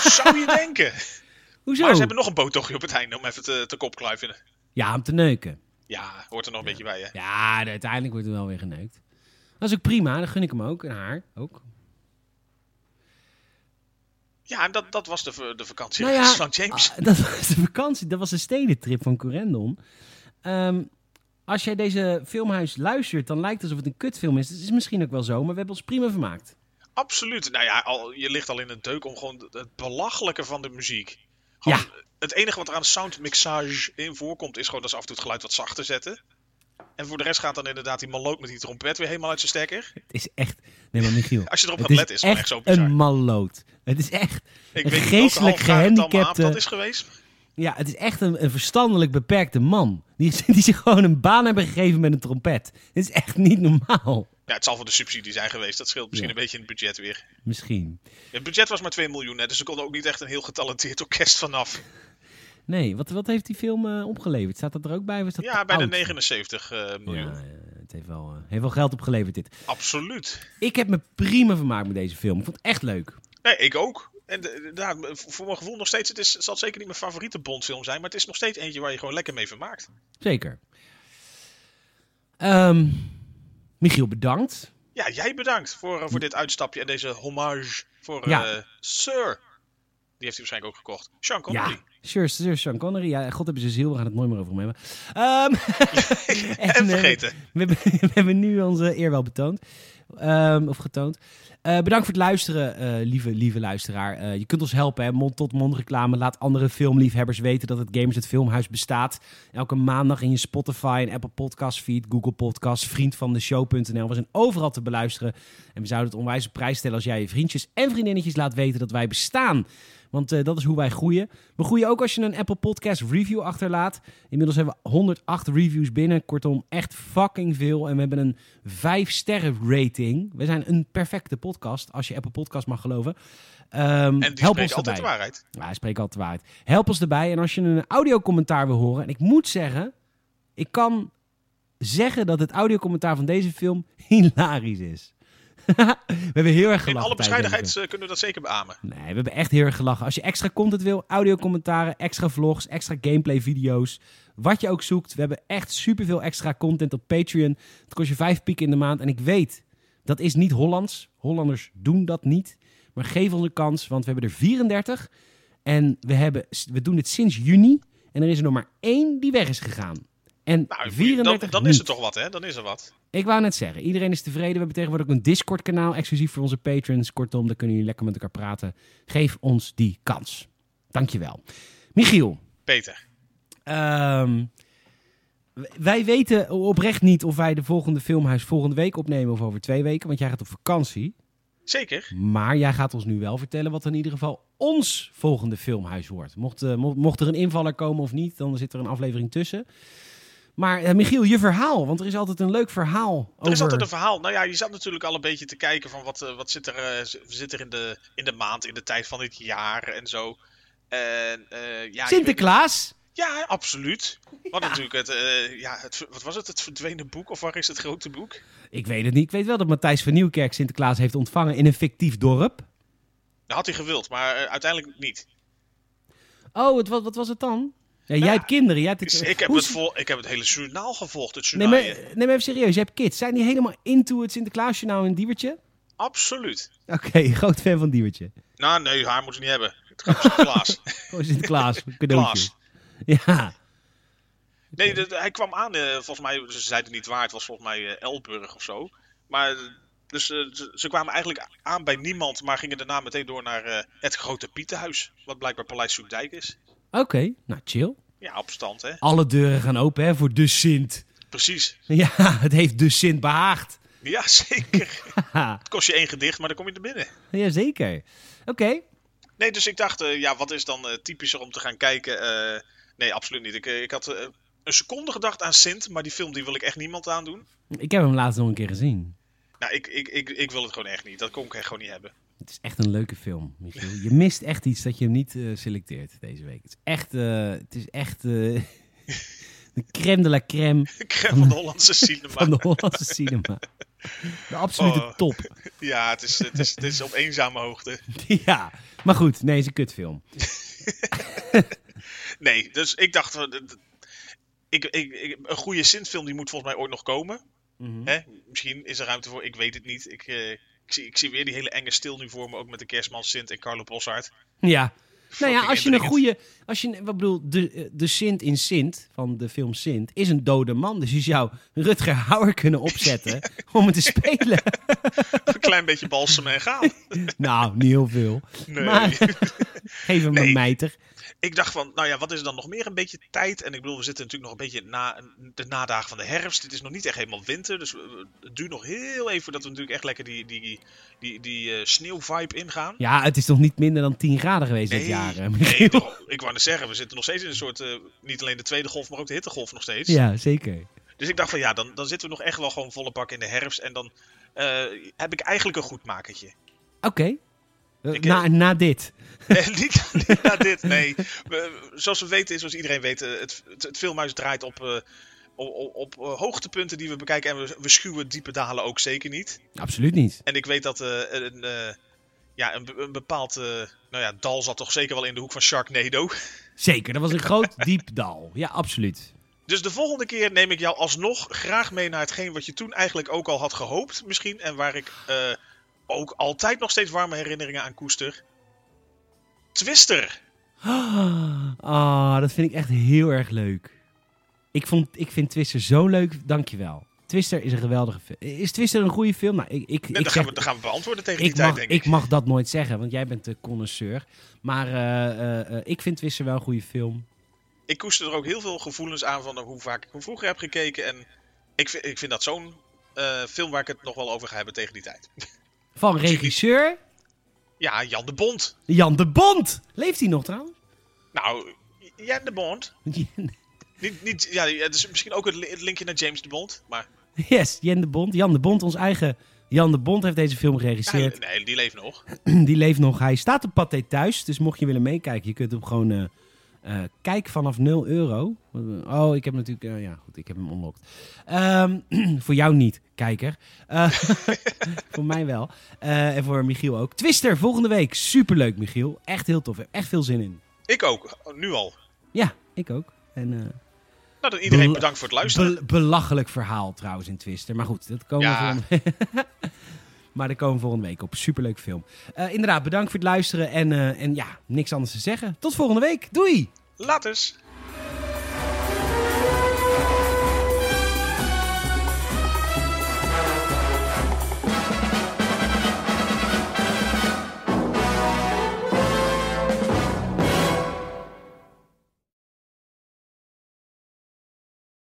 S2: Zou je denken.
S1: Hoezo?
S2: Maar ze hebben nog een boottochtje op het einde om even te, te kopkluiven.
S1: Ja, om te neuken.
S2: Ja, hoort er nog een beetje bij, hè?
S1: Ja, de- uiteindelijk wordt er wel weer geneukt. Dat is ook prima, dan gun ik hem ook. En haar ook.
S2: Ja, en dat, dat was de, v- de vakantie
S1: Nou ja,
S2: van Slank James.
S1: ah, dat was de vakantie, dat was de stedentrip van Corendon. Ehm, als jij deze filmhuis luistert, dan lijkt het alsof het een kutfilm is. Dat is misschien ook wel zo, maar we hebben ons prima vermaakt.
S2: Absoluut. Nou ja, al, je ligt al in de deuk om gewoon het- het belachelijke van de muziek. Gewoon, Het enige wat er aan soundmixage in voorkomt, is gewoon dat ze af en toe het geluid wat zachter zetten. En voor de rest gaat dan inderdaad die maloot met die trompet weer helemaal uit zijn stekker.
S1: Het is echt... Nee, maar Michiel.
S2: Als je erop
S1: het
S2: gaat letten, is het
S1: echt,
S2: wel echt zo bizar.
S1: een malloot. Het is echt...
S2: Ik
S1: een
S2: weet niet welke
S1: geestelijk
S2: halve dagen het allemaal
S1: gehandicapte-
S2: avond dat is geweest.
S1: Ja, het is echt een, een verstandelijk beperkte man. Die, die zich gewoon een baan hebben gegeven met een trompet. Dit is echt niet normaal.
S2: Ja, het zal voor de subsidie zijn geweest. Dat scheelt misschien
S1: Ja.
S2: een beetje in het budget weer.
S1: Misschien.
S2: Het budget was maar 2 miljoen, hè, dus ze konden ook niet echt een heel getalenteerd orkest vanaf.
S1: Nee, wat, wat heeft die film eh, opgeleverd? Staat dat er ook bij? Of is dat
S2: Ja, bij de
S1: oud?
S2: 79 eh, miljoen.
S1: Ja, eh, het heeft wel, eh, heeft wel geld opgeleverd dit.
S2: Absoluut.
S1: Ik heb me prima vermaakt met deze film. Ik vond het echt leuk.
S2: Nee, ik ook. En eh, de- de- ja, voor voor mijn gevoel nog steeds, het, is, het zal zeker niet mijn favoriete Bondfilm zijn, maar het is nog steeds eentje waar je gewoon lekker mee vermaakt.
S1: Zeker. Ehm, Michiel, bedankt.
S2: Ja, jij bedankt voor, eh, voor dit uitstapje en deze hommage voor
S1: Ja.
S2: eh, Sir. Die heeft hij waarschijnlijk ook gekocht. Sean Connery.
S1: Ja, sure, sure, Sean Connery. Ja, god hebben ze ziel, we gaan het nooit meer over hem hebben. Ehm,
S2: En,
S1: eh,
S2: vergeten.
S1: We hebben, we hebben nu onze eer wel betoond. Ehm, of getoond. Eh, bedankt voor het luisteren, eh, lieve, lieve luisteraar. Eh, je kunt ons helpen, hè. mond-tot-mond reclame. Laat andere filmliefhebbers weten dat het Gamers het Filmhuis bestaat. Elke maandag in je Spotify, en Apple Podcast feed, Google Podcast, vriendvandeshow.nl. We zijn overal te beluisteren. En we zouden het onwijs op prijs stellen als jij je vriendjes en vriendinnetjes laat weten dat wij bestaan. Want eh, dat is hoe wij groeien. We groeien ook als je een Apple Podcast review achterlaat. Inmiddels hebben we 108 reviews binnen. Kortom, echt fucking veel. En we hebben een 5 sterren rating rating. We zijn een perfecte podcast, als je Apple Podcast mag geloven. Ehm,
S2: En die
S1: help
S2: spreekt
S1: ons
S2: altijd de
S1: erbij.
S2: waarheid.
S1: Ja, hij spreekt altijd de waarheid. Help ons erbij. En als je een audiocommentaar wil horen. En ik moet zeggen, ik kan zeggen dat het audiocommentaar van deze film hilarisch is. we hebben heel erg gelachen. tijdens
S2: In alle
S1: deze film.
S2: bescheidenheid eh, kunnen we dat zeker beamen.
S1: Nee, we hebben echt heel erg gelachen. Als je extra content wil, audiocommentaren, extra vlogs, extra gameplay video's, wat je ook zoekt. We hebben echt superveel extra content op Patreon. Het kost je vijf piek in de maand. En ik weet, dat is niet Hollands. Hollanders doen dat niet. Maar geef ons een kans, want we hebben er 34. En we, hebben, we doen dit sinds juni. En er is er nog maar één die weg is gegaan. En
S2: Nou,
S1: 34
S2: dan, dan is
S1: niet.
S2: er toch wat, hè? Dan is er wat.
S1: Ik wou net zeggen, iedereen is tevreden. We hebben tegenwoordig ook een Discord-kanaal exclusief voor onze patrons. Kortom, daar kunnen jullie lekker met elkaar praten. Geef ons die kans. Dankjewel. Michiel,
S2: Peter.
S1: ehm, w- wij weten oprecht niet of wij de volgende filmhuis volgende week opnemen of over twee weken, want jij gaat op vakantie.
S2: Zeker.
S1: Maar jij gaat ons nu wel vertellen wat in ieder geval ons volgende filmhuis wordt. Mocht, eh, mo- mocht er een invaller komen of niet, dan zit er een aflevering tussen. Maar eh, Michiel, je verhaal, want er is altijd een leuk verhaal
S2: Er is
S1: over...
S2: altijd een verhaal. Nou ja, je zat natuurlijk al een beetje te kijken van wat, eh, wat zit er, eh, z- zit er in, de, in de maand, in de tijd van dit jaar en zo. En, eh, ja, ik weet-
S1: Sinterklaas?
S2: Ja, absoluut. Wat natuurlijk het, eh, ja, het, ver- wat was het, het verdwenen boek of waar is het grote boek?
S1: Ik weet het niet. Ik weet wel dat Matthijs van Nieuwkerk Sinterklaas heeft ontvangen in een fictief dorp.
S2: Dat had hij gewild, maar eh, uiteindelijk niet.
S1: Oh, het, wat, wat was het dan? Ja, jij hebt kinderen. Jij hebt
S2: Dus ik, heb
S1: Hoe
S2: het
S1: is-
S2: Nou, vol, ik heb het hele journaal gevolgd, het
S1: Nee
S2: journaal.
S1: maar, nee, maar even serieus. Je hebt kids. Zijn die helemaal into het Sinterklaasjournaal in Diewertje?
S2: Absoluut.
S1: Oké, groot fan van Diewertje.
S2: Nou, nee, haar moet het niet hebben. Het gaat om Sinterklaas.
S1: Gewoon Sinterklaas, cadeautjes. Ja.
S2: Nee, de- de- hij kwam aan, eh, volgens mij, ze zeiden niet waar, het was volgens mij eh, Elburg of zo. Maar, eh, dus eh, ze, ze kwamen eigenlijk aan bij niemand, maar gingen daarna meteen door naar eh, het Grote Pietenhuis. Wat blijkbaar Paleis Soekdijk is.
S1: Oké, nou chill.
S2: Ja, op stand, hè.
S1: Alle deuren gaan open hè, voor de Sint.
S2: Precies.
S1: Ja, het heeft de Sint behaagd.
S2: Ja, zeker.
S1: Haha,
S2: Het kost je één gedicht, maar dan kom je er binnen.
S1: Jazeker. Oké.
S2: Nee, dus ik dacht, eh, ja, wat is dan eh, typischer om te gaan kijken? Eh, nee, absoluut niet. Ik, eh, ik had eh, een seconde gedacht aan Sint, maar die film die wil ik echt niemand aandoen.
S1: Ik heb hem laatst nog een keer gezien.
S2: Nou, ik, ik, ik, ik wil het gewoon echt niet. Dat kon ik echt gewoon niet hebben.
S1: Het is echt een leuke film, Michiel. Je mist echt iets dat je hem niet eh, selecteert deze week. Het is echt, eh, het is echt eh, de crème de la crème
S2: Ik heb van de Hollandse cinema.
S1: van de Hollandse cinema. De absolute
S2: Oh.
S1: top.
S2: Ja, het is, het, is, het is op eenzame hoogte.
S1: ja, maar goed. Nee, het is een kutfilm.
S2: Nee, dus ik dacht... eh, d- Ik, ik, ik- een goede Sint-film die moet volgens mij ooit nog komen. Hè? Misschien is er ruimte voor, ik weet het niet. Ik, eh, ik, zie, ik zie weer die hele enge stil nu voor me, ook met de kerstman Sint en Carlo Bossard.
S1: Ja. Nou ja,
S2: Fucking
S1: als je een
S2: indringend.
S1: goede... Als je, wat bedoel, de, eh, de Sint in Sint, van de film Sint, is een dode man. Dus je zou Rutger Hauer kunnen opzetten om het te spelen.
S2: Een klein beetje balsemen en gaan.
S1: nou, niet heel veel.
S2: Nee.
S1: Maar geef hem een
S2: Nee.
S1: mijter.
S2: Ik dacht van, nou ja, wat is er dan nog meer? Een beetje tijd. En ik bedoel, we zitten natuurlijk nog een beetje na de nadagen van de herfst. Het is nog niet echt helemaal winter. Dus we- we- het duurt nog heel even voordat we natuurlijk echt lekker die, die, die, die eh, sneeuwvibe ingaan.
S1: Ja, het is nog niet minder dan 10 graden geweest dit
S2: Nee,
S1: jaar. hè, Michiel?
S2: nee toch, ik wou net zeggen, we zitten nog steeds in een soort, eh, niet alleen de tweede golf, maar ook de hittegolf nog steeds.
S1: Ja, zeker.
S2: Dus ik dacht van ja, dan, dan zitten we nog echt wel gewoon volle pak in de herfst. En dan eh, heb ik eigenlijk een goed makertje.
S1: Oké. Eh,
S2: Ik,
S1: Na, na dit.
S2: Nee, Eh, niet, niet naar dit, nee. We- zoals we weten, is, zoals iedereen weet, eh, het, het, het filmhuis draait op, eh, op, op, op, eh, hoogtepunten die we bekijken. En we, we schuwen diepe dalen ook zeker niet.
S1: Absoluut niet.
S2: En ik weet dat eh, een, eh, ja, een, be- een bepaald eh, nou ja, dal zat toch zeker wel in de hoek van Sharknado.
S1: Zeker, dat was een groot diep dal. Ja, absoluut.
S2: Dus de volgende keer neem ik jou alsnog graag mee naar hetgeen wat je toen eigenlijk ook al had gehoopt misschien. En waar ik eh, ook altijd nog steeds warme herinneringen aan koester. Twister!
S1: Ah, dat vind ik echt heel erg leuk. Ik, vond, ik vind Twister zo leuk. Dankjewel. Twister is een geweldige film. Is Twister een goede film? Nou, ik, ik,
S2: En
S1: ik,
S2: dat
S1: zeg,
S2: gaan, we, dat gaan we beantwoorden tegen die
S1: ik,
S2: tijd,
S1: mag,
S2: denk
S1: ik mag dat nooit zeggen, want jij bent de connoisseur. Maar eh, eh, eh, ik vind Twister wel een goede film.
S2: ik koester er ook heel veel gevoelens aan van hoe vaak ik hem vroeger heb gekeken. En ik vind, ik vind dat zo'n eh, film waar ik het nog wel over ga hebben tegen die tijd.
S1: Van regisseur
S2: Ja, Jan de Bond.
S1: Jan de Bond. Leeft hij nog trouwens?
S2: Nou, Jan de Bond. Niet, niet, ja, het is misschien ook het li- het linkje naar James de Bond. Maar
S1: Yes, Jan de Bond. Jan de Bond, ons eigen Jan de Bond heeft deze film
S2: Nee,
S1: geregisseerd.
S2: nee, die leeft nog.
S1: Die leeft nog. Hij staat op Pathé thuis. Dus mocht je willen meekijken, je kunt hem gewoon eh eh, kijken vanaf 0 euro. Oh, ik heb natuurlijk... eh, ja, goed. Ik heb hem unlocked. Ehm, voor jou niet, kijker. Eh, voor mij wel. Eh, en voor Michiel ook. Twister, volgende week. Superleuk, Michiel. Echt heel tof. Ik heb echt veel zin in.
S2: Ik ook, nu al.
S1: Ja, ik ook. En, eh,
S2: Nou, dan iedereen
S1: Bel-
S2: bedankt voor het luisteren.
S1: Bel- belachelijk verhaal trouwens in Twister. Maar goed, dat komen
S2: Ja.
S1: we volgende Maar daar komen we volgende week op. Superleuk film. Eh, inderdaad, bedankt voor het luisteren. En, eh, en ja, niks anders te zeggen. Tot volgende week. Doei!
S2: Laters.